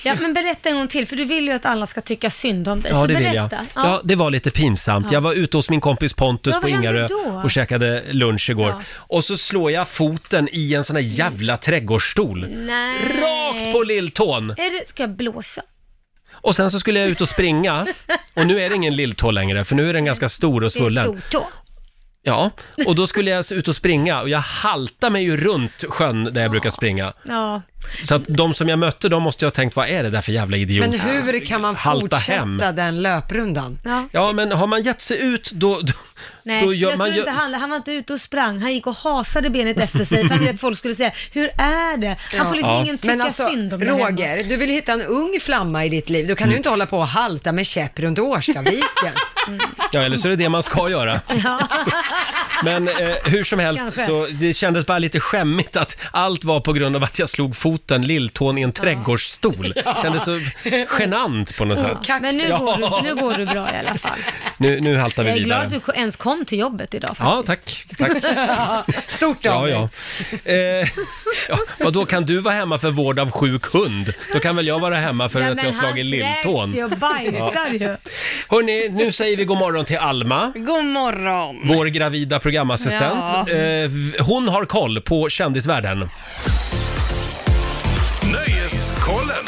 C: Ja, men berätta en gång till, för du vill ju att alla ska tycka synd om dig.
A: Ja,
C: så
A: det vill jag.
C: berätta.
A: Ja, det var lite pinsamt.
C: Ja.
A: Jag var ute hos min kompis Pontus
C: Ja,
A: på
C: vad hände
A: Ingarö
C: då?
A: och käkade lunch igår.
C: Ja.
A: Och så slår jag foten i en sån här jävla trädgårdsstol.
C: Nej.
A: Rakt på lilltån!
C: Är det, ska jag blåsa?
A: Och sen så skulle jag ut och springa och nu är det ingen lilltå längre för nu är den ganska stor och
C: Det är
A: svullen.
C: stortå.
A: Ja, och då skulle jag ut och springa och jag haltade mig ju runt sjön där jag brukar springa.
C: Ja.
A: Så att de som jag mötte, de måste jag ha tänkt, vad är det där för jävla idiot? Alltså,
B: Men hur kan man
A: Halta
B: fortsätta
A: hem.
B: den löprundan?
A: Ja, men har man gett sig ut då... då
C: Nej,
A: då
C: jag
A: man
C: tror inte han, han var inte ute och sprang. Han gick och hasade benet efter sig för han ville att folk skulle säga, hur är det? Han får liksom
A: Ja.
C: ingen tycka
B: Men alltså,
C: synd om där hemma.
B: Roger, du vill hitta en ung flamma i ditt liv. Då kan
A: Mm.
B: du inte hålla på och halta med käpp runt Årstaviken.
A: Ja, eller så är det det man ska göra. Men eh, hur som helst,
B: Kanske.
A: så det kändes bara lite skämmigt att allt var på grund av att jag slog foten, lilltån, i en trädgårdsstol.
C: Ja.
A: Kändes så genant på något sätt.
C: Ja. Men nu,
A: Ja.
C: går du, nu går du bra i alla fall.
A: Nu, nu haltar vi
C: Jag är glad
A: vidare.
C: att du ko- ens kom till jobbet idag faktiskt.
A: Ja, tack. tack.
B: Stort
A: Ja, ja. Eh, ja, vad då kan du vara hemma för vård av sjuk hund? Då kan väl jag vara hemma för
C: Nej,
A: att
C: men
A: jag slagit
C: Han
A: lilltån?
C: kräks ju och bajsar ju.
A: Hörni, nu säger vi god morgon till Alma.
O: God morgon!
A: Vår gravida programassistent.
O: Ja.
A: Eh, hon har koll på kändisvärlden.
M: Nöjeskollen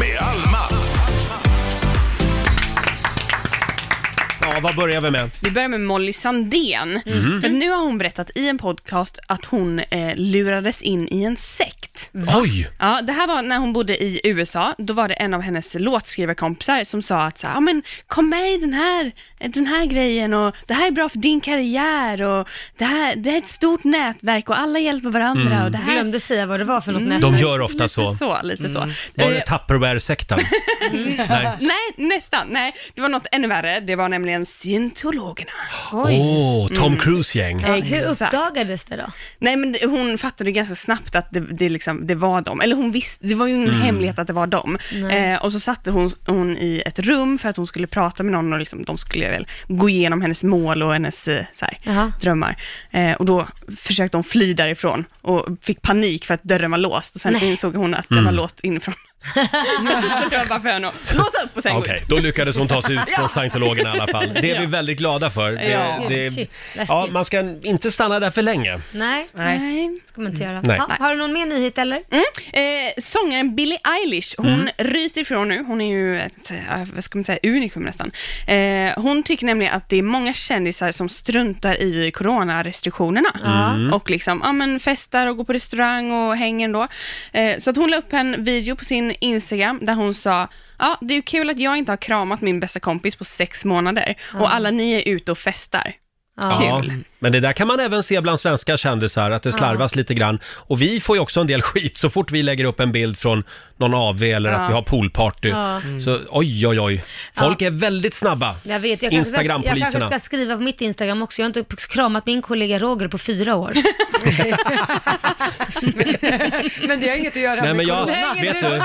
M: med Alma.
A: Ja, vad börjar vi med?
O: Vi börjar med Molly Sandén.
A: Mhm.
O: För nu har hon berättat i en podcast att hon eh, lurades in i en sekt.
A: Oj!
O: Ja, det här var när hon bodde i USA. Då var det en av hennes låtskrivarkompisar som sa att så här, "Ja, men kom med i den här, den här grejen och det här är bra för din karriär och det här det är ett stort nätverk och alla hjälper varandra.
A: Mm.
O: Och det här... Glömde
C: säga vad det var för något Mm.
A: De gör ofta så.
O: Mm. Lite så, lite så.
A: Var
O: Eh,
A: det Tupperware-sekten? Nej.
O: Nej, nästan. Nej, det var något ännu värre. Det var nämligen scientologerna.
A: Åh, oh, Tom Cruise-gäng.
O: Mm. Exakt.
C: uppdagades det då?
O: Nej, men det- hon fattade ganska snabbt att det, det, liksom, det var dem. Eller hon visste, det var ju ingen
C: Mm.
O: hemlighet att det var dem.
C: Nej.
O: Eh, och så satte hon, hon i ett rum för att hon skulle prata med någon och liksom, de skulle väl gå igenom hennes mål och hennes eh, så här,
C: Jaha.
O: drömmar. Eh, och då försökte hon fly därifrån och fick panik för att dörren var låst. Och sen
C: Nej.
O: insåg hon att den
A: Mm.
O: var låst inifrån. så det var bara för henne att låsa upp och sen
A: Okej,
O: gå ut.
A: då lyckades hon ta sig ut från scientologerna i alla fall. Det är vi
O: Ja.
A: väldigt glada för. Det,
O: Ja.
A: det,
C: Shit, läskigt.
A: ja, man ska inte stanna där för länge.
C: Nej,
O: Nej.
C: ska man inte göra.
A: Nej.
C: Ja, har du någon mer nyhet eller?
O: Mm. Eh, sångaren Billie Eilish, hon
C: Mm.
O: ryter ifrån nu. Hon är ju ett, eh, vad ska man säga, unikum nästan. Eh, hon tycker nämligen att det är många kändisar som struntar i coronarestriktionerna
D: Ja. Mm.
O: och liksom, ja men festar och går på restaurang och hänger ändå. Eh, så att hon la upp en video på sin Instagram där hon sa Ja, det är ju kul att jag inte har kramat min bästa kompis på sex månader
C: Ja.
O: och alla ni är ute och festar.
A: Ja,
O: Kul.
A: men det där kan man även se bland svenska kändisar, att det
O: Ja.
A: slarvas lite grann. Och vi får ju också en del skit så fort vi lägger upp en bild från någon AV eller
C: Ja.
A: att vi har poolparty.
C: Ja. Mm.
A: Så oj, oj, oj. Folk är väldigt snabba.
C: Jag vet, jag kanske, ska, jag kanske
A: Instagrampoliserna.
C: ska skriva på mitt Instagram också. Jag har inte kramat min kollega Roger på fyra år.
B: Men det har inget att göra
A: Nej,
B: med
A: men jag-
B: corona.
A: vet du-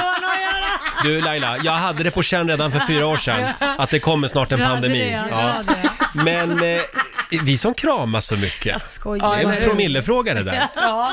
A: Du Laila, jag hade det på känn redan för fyra år sedan att det kommer snart en
C: Du hade
A: pandemi.
C: det, ja, du
A: Ja.
C: hade
A: Men eh, vi som kramas så mycket.
C: Jag skojar.
A: Det är en promillefråga det där.
B: Ja.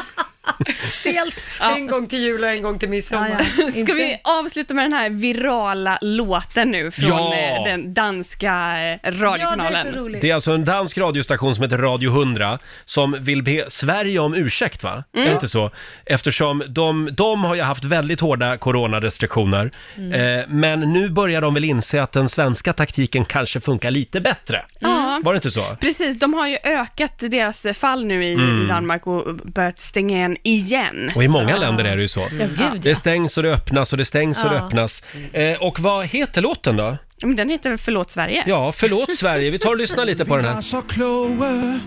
O: Stelt.
B: En gång till jul och en gång till midsommar.
O: Ska vi avsluta med den här virala låten nu från
A: Ja.
O: eh, den danska eh, radiokanalen?
A: Det är alltså en dansk radiostation som heter Radio 100 som vill be Sverige om ursäkt va?
O: Mm.
A: Är det inte så? Eftersom de, de har ju haft väldigt hårda coronarestriktioner.
O: Mm.
A: Eh, men nu börjar de väl inse att den svenska taktiken kanske funkar lite bättre.
O: Ja.
A: Var det inte så?
O: Precis, de har ju ökat deras eh, fall nu i,
A: Mm.
O: i Danmark och börjat stänga igen igen.
A: Och i många
O: Så-
A: länder är det ju så.
O: Ja, gud, ja.
A: Det stängs och det öppnas och det stängs och det
O: Ja.
A: öppnas. Eh, och vad heter låten då?
O: Men den heter väl Förlåt Sverige?
A: Ja, förlåt Sverige. Vi tar och lyssnar lite på den
D: Vi var
A: här.
D: så kloge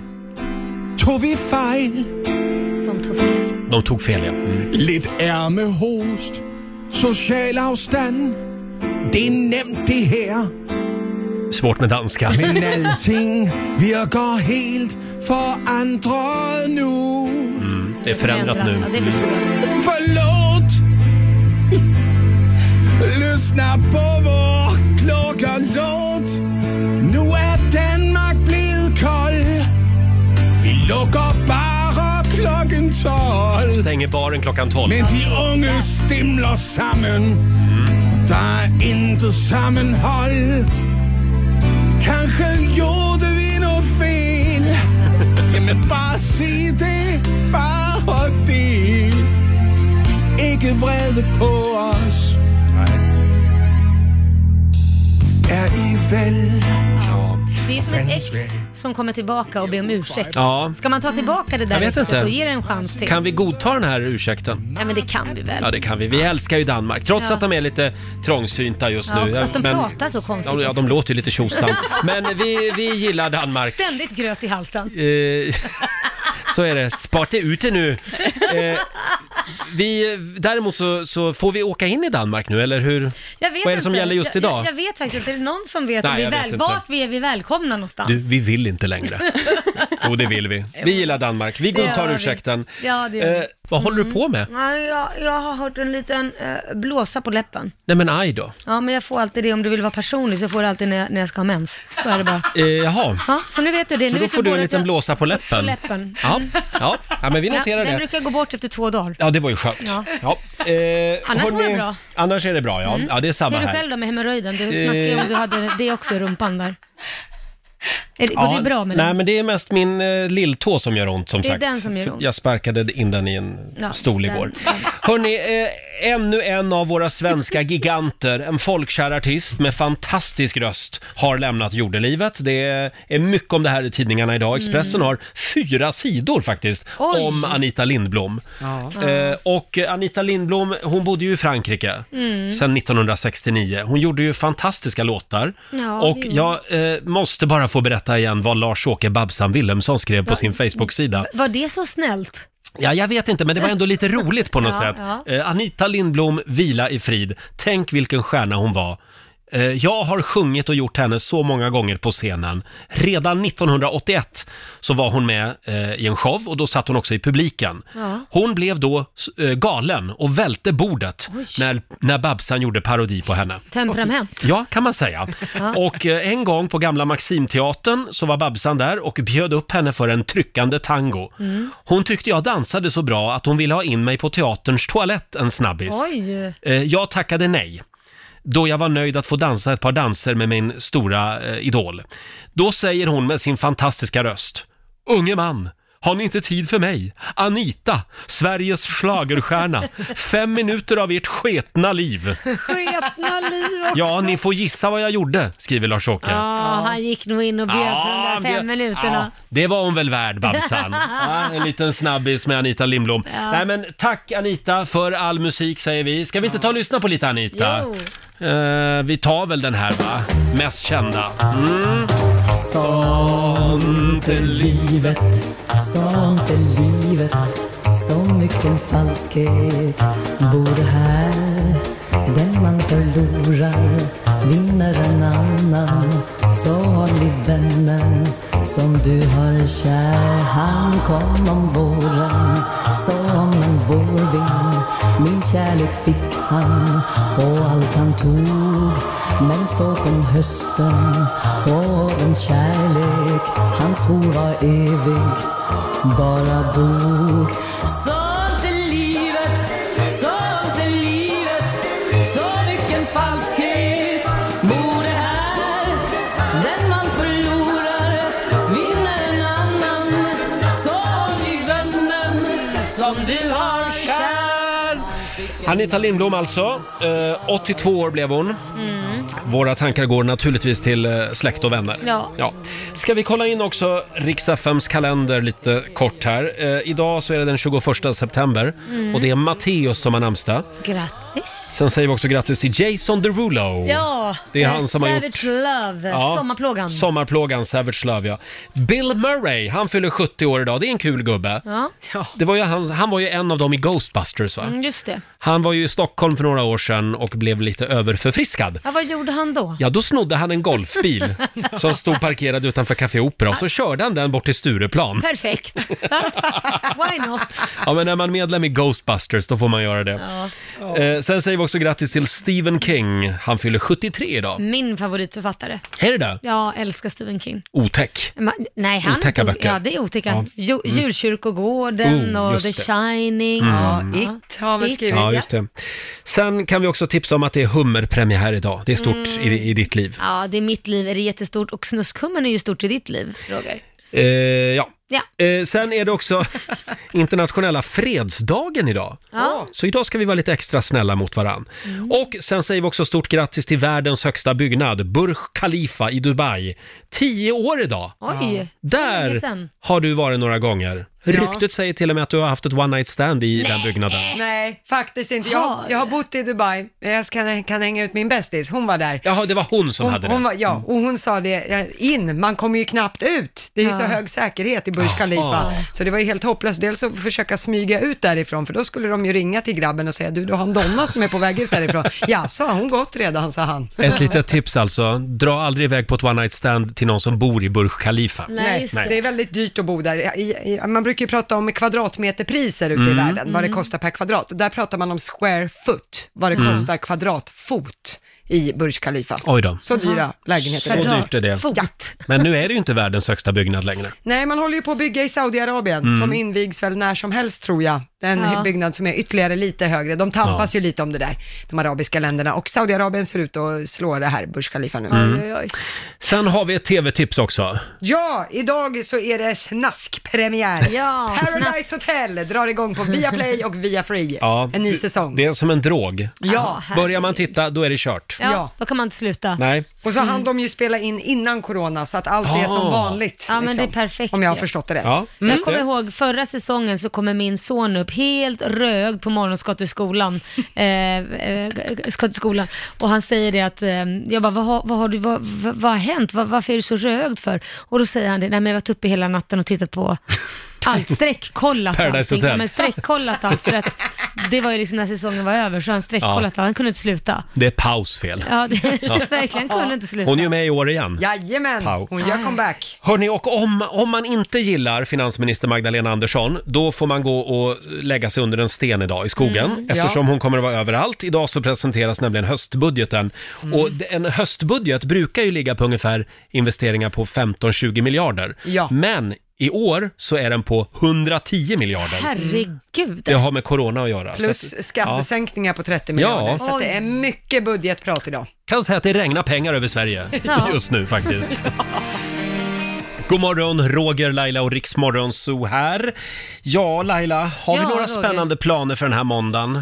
I: tog vi fejl.
C: De tog fel.
A: De tog fel, ja. Mm.
I: Lidt ærmehost, social afstand. Det er nemt det her.
A: Svårt med danska.
I: Men alting virker helt forandret nu.
A: Mm, Det är förändrat nu.
I: Förlåt! Lyssna på vår klockarlåt. Nu är Danmark blivit koll. Vi lukker bare klokken 12.
A: Stänger baren klockan 12.
I: Men de unge stimler sammen. Der er intet sammenhold. Kanskje gjorde vi noget fel. Jamen bare sig det, bare det. De er ikke vrede på os. Er I vel?
C: Det är ju som ett ex som kommer tillbaka och ber om ursäkt.
A: Ja.
C: Ska man ta tillbaka det där
A: Jag vet
C: exet
A: inte.
C: och ge det en chans till?
A: Kan vi godta den här ursäkten?
C: Ja men det kan vi väl?
A: Ja, det kan vi. Vi älskar ju Danmark, trots
C: Ja.
A: att de är lite trångsynta just
C: Ja,
A: nu.
C: och att de
A: Men-
C: pratar så konstigt
A: Ja, de
C: också.
A: låter ju lite tjosan. Men vi, vi gillar Danmark.
C: Ständigt gröt i halsen.
A: Eh, så är det. Spart är ute nu. Eh, vi, däremot så, så får vi åka in i Danmark nu, eller hur? Vad är
C: Jag vet
A: det
C: inte.
A: som gäller just idag?
C: Jag, jag vet faktiskt inte. Är det någon som vet
A: Nej,
C: om vi
A: jag
C: är
A: vet
C: väl,
A: inte.
C: vart vi är vi välkomna någonstans?
A: Du, vi vill inte längre. Jo, det vill vi. Vi gillar Danmark. Vi
C: Det
A: godtar
C: gör vi.
A: ursäkten. Eh,
C: Ja, det gör vi. Mm.
A: vad håller du på med?
C: Ja, jag, jag har hört en liten eh, blåsa på läppen.
A: Nej, men aj då.
C: Ja, men jag får alltid det om du vill vara personlig, så får du alltid när jag, när jag ska ha mens. Så är det bara.
A: Eh, jaha.
C: Ja, så nu vet du det.
A: Så
C: nu
A: då
C: vet
A: får du en
C: både
A: liten
C: att jag-
A: blåsa på läppen.
C: På läppen. Mm.
A: Ja, ja. ja men vi
C: Ja,
A: noterar
C: Den
A: det.
C: brukar gå bort efter två dagar.
A: Ja, det var ju skönt. Ja.
C: Ja.
A: Eh,
C: Annars mår jag bra.
A: Annars är det bra, ja.
C: Mm.
A: Ja, det är samma
C: Hur är du
A: här. Eh.
C: själv då med hemorrojden? Du snackade ju om du hade det också i rumpan där. Är det, går
A: Ja,
C: det bra med
A: Nej,
C: den?
A: men det är mest min eh, lilltå som gör ont som
C: Det är
A: sagt.
C: den som gör ont.
A: Jag sparkade in den i en
C: Ja,
A: stol
C: den-
A: igår. Hörni, eh, ännu en av våra svenska giganter, en folkkär artist med fantastisk röst, har lämnat jordelivet. Det är mycket om det här i tidningarna idag. Expressen
P: Mm.
A: har fyra sidor faktiskt
P: Oj.
A: om Anita Lindblom. Eh, och eh, Anita Lindblom, hon bodde ju i Frankrike
P: Mm.
A: sedan 1969. Hon gjorde ju fantastiska låtar.
P: Ja,
A: och
P: det
A: jag
P: gjorde
A: eh, måste bara få berätta igen vad Lars-Åke Babsan Wilhelmsson skrev på sin Facebook-sida.
C: Var det så snällt?
A: Ja, jag vet inte, men det var ändå lite roligt på något
C: Ja,
A: sätt.
C: ja.
A: Eh, Anita Lindblom, vila i frid. Tänk vilken stjärna hon var. Eh, Jag har sjungit och gjort henne så många gånger på scenen. Redan 1981 så var hon med eh, i en show och då satt hon också i publiken.
P: Ja.
A: Hon blev då eh, galen och välte bordet när, när Babsan gjorde parodi på henne.
C: Temperament.
A: Ja, kan man säga.
C: Ja.
A: Och eh, en gång på gamla Maximteatern så var Babsan där och bjöd upp henne för en tryckande tango.
C: Mm.
A: Hon tyckte jag dansade så bra att hon ville ha in mig på teaterns toalett en snabbis.
C: Oj!
A: Eh, Jag tackade nej, då jag var nöjd att få dansa ett par danser med min stora eh, idol. Då säger hon med sin fantastiska röst, unge man, har ni inte tid för mig? Anita, Sveriges schlagerstjärna. Fem minuter av ert sketna liv.
C: Sketna liv också.
A: Ja, ni får gissa vad jag gjorde, skriver Lars-Åke.
C: Ja, han gick nog in och bjöd på
A: Ja,
C: de där fem
A: bjöd-
C: minuterna.
A: Ja, det var hon väl värd, Babsan. Ja, en liten snabbis med Anita Lindblom.
C: Ja.
A: Nej, men tack Anita för all musik säger vi. Ska vi inte ta och lyssna på lite Anita?
P: Jo.
A: Eh, vi tar väl den här va? Mest kända. Mm. Sånt är livet.
E: Sånt är livet, så mycken falskhet Bor här, den man förlorar vinner en annan Så har vi vännen som du har kär Han kom om våren, som en vårvind Min kärlek fick han och allt han tog Men så kom hösten och den kärlek han svor var evig bara dog
D: Sånt är livet, sånt är livet Så mycken falskhet bor det här Den man förlorar vinner en annan Så blir vännen som du har kär
A: Anita Lindblom alltså. Eh, 82 år blev hon.
C: Mm.
A: Våra tankar går naturligtvis till eh, släkt och vänner.
C: Ja.
A: Ska vi kolla in också riks FMs kalender lite kort här. Eh, idag så är det den 21 september
C: Mm.
A: och det är Matteus som har namnsdag.
C: Grattis. Grattis!
A: Sen säger vi också grattis till Jason Derulo.
C: Ja,
A: det är
C: eh,
A: han som har gjort...
C: Savage Love,
A: Ja.
C: Sommarplågan.
A: Sommarplågan, Savage Love ja. Bill Murray, han fyller 70 år idag. Det är en kul gubbe.
C: ja.
A: Det var ju, han, han var ju en av dem i Ghostbusters va?
C: Mm, just det.
A: Han var ju i Stockholm för några år sedan och blev lite överförfriskad.
C: Ja, vad gjorde han då?
A: Ja, då snodde han en golfbil som stod parkerad utanför Café Opera och så körde han den bort till Stureplan.
C: Perfekt. Why not?
A: Ja, men när man är medlem i Ghostbusters då får man göra det.
C: Ja.
A: Eh, sen säger vi också grattis till Stephen King. Han fyller 73 idag.
C: Min favoritförfattare.
A: Är det det?
C: Jag älskar Stephen King.
A: Otäck.
C: Ma- Nej, han
A: Otäcka böcker.
C: Ja, det är otäcka.
A: Ja.
C: Jo-
A: Mm.
C: Djurkyrkogården
A: Oh,
C: och
A: just
C: The
A: det.
C: Shining.
A: Mm.
C: Ja,
A: Mm.
C: It har
B: väl skrivit.
A: Ja, just det. Sen kan vi också tipsa om att det är hummerpremiär idag. Det är stort
C: Mm.
A: i, i ditt liv.
C: Ja, det är mitt liv. Är det jättestort? Och Snuskhummen är ju stort i ditt liv, Roger.
A: Eh, ja.
C: Ja.
A: Eh, sen är det också internationella fredsdagen idag.
C: Ja.
A: Så idag ska vi vara lite extra snälla mot varann.
B: Mm.
A: Och sen säger vi också stort grattis till världens högsta byggnad, Burj Khalifa i Dubai. Tio år idag!
C: Oj, så länge
A: Där
C: sedan.
A: har du varit några gånger.
B: Ja.
A: Ryktet säger till och med att du har haft ett one night stand i den byggnaden.
B: Nej, faktiskt inte. Jag, har- jag har bott i Dubai, jag kan, kan hänga ut min bästis, hon var där.
A: Jaha, det var hon som
B: hon,
A: hade
B: hon
A: det. Mm.
B: var, Ja, och hon sa det, ja, in, man kommer ju knappt ut. Det är ju
A: Ja.
B: så hög säkerhet i Burj
A: Jaha.
B: Khalifa. Så det var ju helt hopplöst, dels att försöka smyga ut därifrån, för då skulle de ju ringa till grabben och säga, du, du har en donna som är på väg ut därifrån. ja, så har hon gått redan, sa han.
A: Ett litet tips alltså, dra aldrig iväg på ett one night stand till någon som bor i Burj Khalifa.
B: Nej, just det. det är väldigt dyrt att bo där. I, i, man brukar ju prata om kvadratmeterpriser ute i
A: Mm.
B: världen, vad det
A: Mm.
B: kostar per kvadrat. Och där pratar man om square foot, vad det
A: Mm.
B: kostar kvadratfot i Burj Khalifa.
A: Oj då.
B: Så dyra
A: Jaha.
B: lägenheter.
A: Så dyrt är det.
B: Ja.
A: Men nu är det ju inte världens högsta byggnad längre.
B: Nej, man håller ju på att bygga i Saudiarabien,
A: Mm.
B: som invigs väl när som helst tror jag. En
A: Ja.
B: byggnad som är ytterligare lite högre. De tampas ju lite om det där, de arabiska länderna. Och Saudiarabien ser ut att slå det här Burj Khalifa nu.
A: Mm. Oj, oj, oj. Sen har vi ett tv-tips också.
B: Ja, idag så är det snaskpremiär.
C: Ja,
B: Paradise Hotel drar igång på Viaplay och Via Free.
A: Ja,
B: En ny
A: det-
B: säsong.
A: Det är som en drog.
B: Ja,
A: Börjar man titta, då är det kört.
C: Ja, då kan man inte sluta.
A: Nej.
B: Och så hann de ju spela in innan corona, så att allt är
A: Ah.
B: som vanligt.
C: Ja, men
B: liksom.
C: det är perfekt
B: Om jag har
C: ju.
B: förstått det rätt.
A: Ja,
B: Mm.
C: Jag kommer ihåg förra säsongen så kommer min son upp helt röd på morgonskotteskolan. Eh, eh, skotteskolan. Och han säger det att, eh, jag bara, vad, har- vad, har, du, vad, vad, vad har hänt? Vad, varför är du så röd för? Och då säger han det, nej men jag har varit uppe hela natten och tittat på allt, streckkollat
A: Paradise
C: allting.
A: Hotel.
C: Ja, men streckkollat allt för att det var ju liksom när säsongen var över så han streckkollat
A: Ja.
C: allt. Han kunde inte sluta.
A: Det är pausfel.
C: Ja, det,
A: Ja.
C: verkligen kunde inte sluta.
A: Hon är ju med i år igen.
B: Jajamän,
A: Pau.
B: hon
C: Ah.
B: gör comeback.
A: Hörni, och om, om man inte gillar finansminister Magdalena Andersson, då får man gå och lägga sig under en sten idag i skogen,
J: Mm.
A: eftersom
J: Ja.
A: hon kommer att vara överallt. Idag så presenteras nämligen höstbudgeten. Och d- en höstbudget brukar ju ligga på ungefär investeringar på 15-20 miljarder.
C: Ja.
A: Men i år så är den på 110 miljarder.
C: Herregud.
A: Det har med corona att göra.
B: Plus
A: Så att-
B: skattesänkningar på 30
A: Ja.
B: miljarder. Så att det är mycket budgetprat idag.
A: kan säga att det regnar pengar över Sverige
B: Ja.
A: just nu faktiskt. God morgon, Roger, Laila och Riksmorgon Zoo här. Ja, Laila, har vi
C: Ja,
A: några
C: Roger.
A: spännande planer för den här måndagen?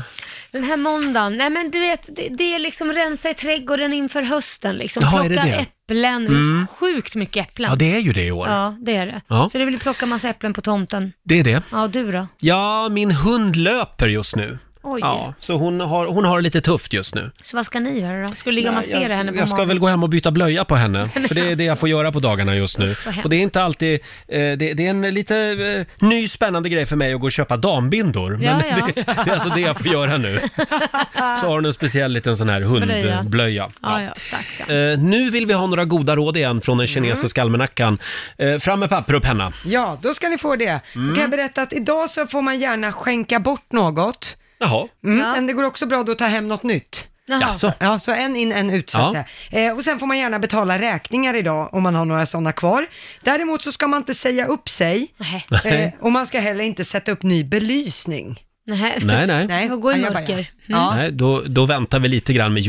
C: Den här måndagen, nej men du vet, det, det är liksom rensa i trädgården inför hösten liksom.
A: Jaha, är det
C: plocka
A: det?
C: äpplen, det
A: Mm.
C: är så sjukt mycket äpplen.
A: Ja, det är ju det i år.
C: Ja, det är det.
A: Ja.
C: Så det vill ju plocka massa äpplen på tomten.
A: Det är det.
C: Ja, du då?
A: Ja, min hund löper just nu.
C: Oj.
A: Ja, så hon har, hon har det lite tufft just nu.
C: Så vad ska ni göra då? Ska du ligga och
A: Ja,
C: massera
A: jag,
C: henne på
A: Jag ska
C: magen?
A: väl gå hem och byta blöja på henne,
C: men
A: för det är det jag får göra på dagarna just nu.
C: Vad hemskt.
A: Och det är inte alltid, eh, det, det är en lite eh, ny spännande grej för mig att gå och köpa dambindor. Men
C: Ja, ja.
A: Det, det är alltså det jag får göra nu. Så har hon en speciell liten sån här hundblöja.
C: Blöja.
A: blöja.
C: Ja, ja, stack.
A: Eh, nu vill vi ha några goda råd igen från den
C: Mm.
A: kinesiska almanackan. Eh, fram med papper och penna.
B: Ja, då ska ni få det. Då
A: Mm.
B: kan jag berätta att idag så får man gärna skänka bort något.
A: Jaha.
B: Mm, Men det går också bra då att ta hem något nytt.
A: Jaha. Jaså?
B: Ja, så en in, en ut så att
A: Ja.
B: säga. Eh, och sen får man gärna betala räkningar idag om man har några sådana kvar. Däremot så ska man inte säga upp sig. Eh, och man ska heller inte sätta upp ny belysning.
C: Nej,
A: Nej, nej.
C: Och gå i
B: Ja, jag bara,
C: mörker. Mm.
B: Ja.
A: Nej, då, då väntar vi lite grann med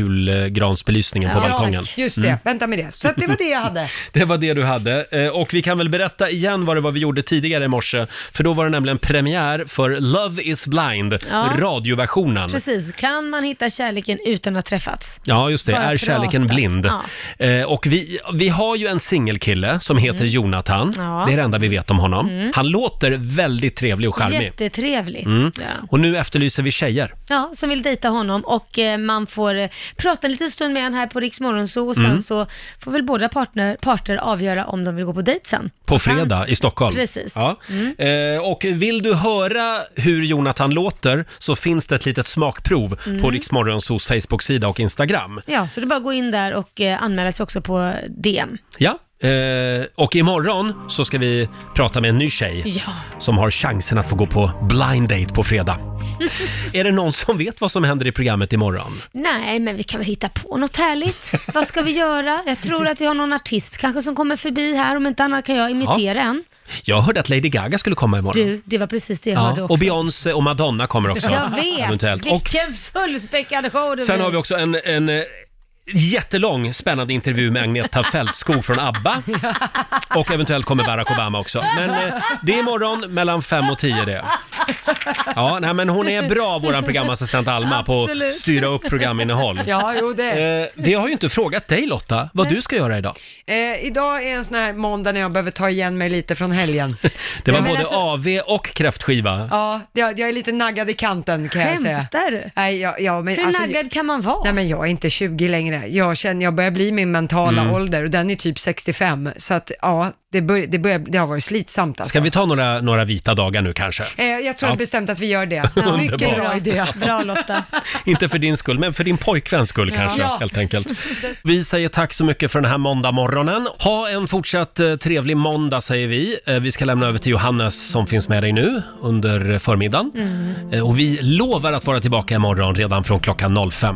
A: julgransbelysningen på balkongen.
B: Just det,
A: Mm.
B: vänta med det. Så att det var det jag hade.
A: Det var det du hade. Eh, Och vi kan väl berätta igen vad det var vi gjorde tidigare i morse. För då var det nämligen premiär för Love is blind,
C: Ja.
A: radioversionen.
C: Precis, kan man hitta kärleken utan att ha träffats?
A: Ja, just det.
C: Bara
A: är kärleken
C: pratat.
A: blind?
C: Ja.
A: Eh, och vi, vi har ju en singelkille som heter
C: Mm.
A: Jonathan.
C: Ja.
A: Det är det enda vi vet om honom.
C: Mm.
A: Han låter väldigt trevlig och charmig.
C: Jättetrevlig.
A: Mm.
C: Ja.
A: Och nu efterlyser vi tjejer.
C: Ja, som vill dejta honom och eh, man får eh, prata en liten stund med honom här på Riks Morgonzoo och sen
A: Mm.
C: så får väl båda partner, parter avgöra om de vill gå på dejt sen.
A: På fredag i Stockholm.
C: Precis.
A: Ja.
C: Mm.
A: Eh, och vill du höra hur Jonathan låter så finns det ett litet smakprov
C: Mm.
A: på Riksmorgonsos Facebook-sida och Instagram.
C: Ja, så det är bara att gå in där och eh, anmäla sig också på DM.
A: Ja, eh, och imorgon så ska vi prata med en ny tjej
C: Ja.
A: som har chansen att få gå på blind date på fredag. Är det någon som vet vad som händer i programmet imorgon?
C: Nej, men vi kan väl hitta på något härligt. Vad ska vi göra? Jag tror att vi har någon artist kanske som kommer förbi här, om inte annat kan jag imitera en.
A: Jag hörde att Lady Gaga skulle komma imorgon.
C: Du, det var precis det jag hörde
A: Ja,
C: också.
A: och Beyoncé och Madonna kommer också.
C: Jag vet,
A: Eventuellt. Och
C: vilken fullspäckad show det
A: Sen
C: blir.
A: har vi också en, en eh, jättelång spännande intervju med Agneta Fältskog från ABBA. Och eventuellt kommer Barack Obama också. Men eh, det är imorgon mellan 5 och 10 det. Ja, nej, men hon är bra våran programassistent Alma på att
B: Absolut.
A: styra upp programinnehåll.
B: Ja, jo det.
A: Eh, vi har ju inte frågat dig Lotta vad
B: Nej.
A: du ska göra idag.
B: Eh, idag är en sån här måndag när jag behöver ta igen mig lite från helgen.
A: Det var
B: Ja, men
A: både
B: alltså-
A: AV och kräftskiva.
B: Ja, jag, jag är lite naggad i kanten kan jag säga.
C: Skämtar du?
B: Nej, ja, ja, men, alltså,
C: Hur naggad kan man vara?
B: Nej, men jag är inte 20 längre. Jag känner, jag börjar bli min mentala
A: Mm.
B: ålder och den är typ 65. Så att ja, det, bör, det, börjar, det har varit slitsamt alltså.
A: Ska vi ta några, några vita dagar nu kanske?
B: Eh, jag tror
A: Ja.
B: bestämt att vi gör det.
A: Ja.
B: Mycket bra
A: Underbart.
B: idé.
C: Bra Lotta.
A: Inte för din skull, men för din pojkväns skull
B: Ja.
A: kanske,
B: Ja.
A: helt enkelt. Vi säger tack så mycket för den här måndagmorgonen. Ha en fortsatt eh, trevlig måndag, säger vi. Eh, vi ska lämna över till Johannes som finns med dig nu
B: Mm.
A: under eh, förmiddagen. Eh, och vi lovar att vara tillbaka imorgon redan från klockan 05.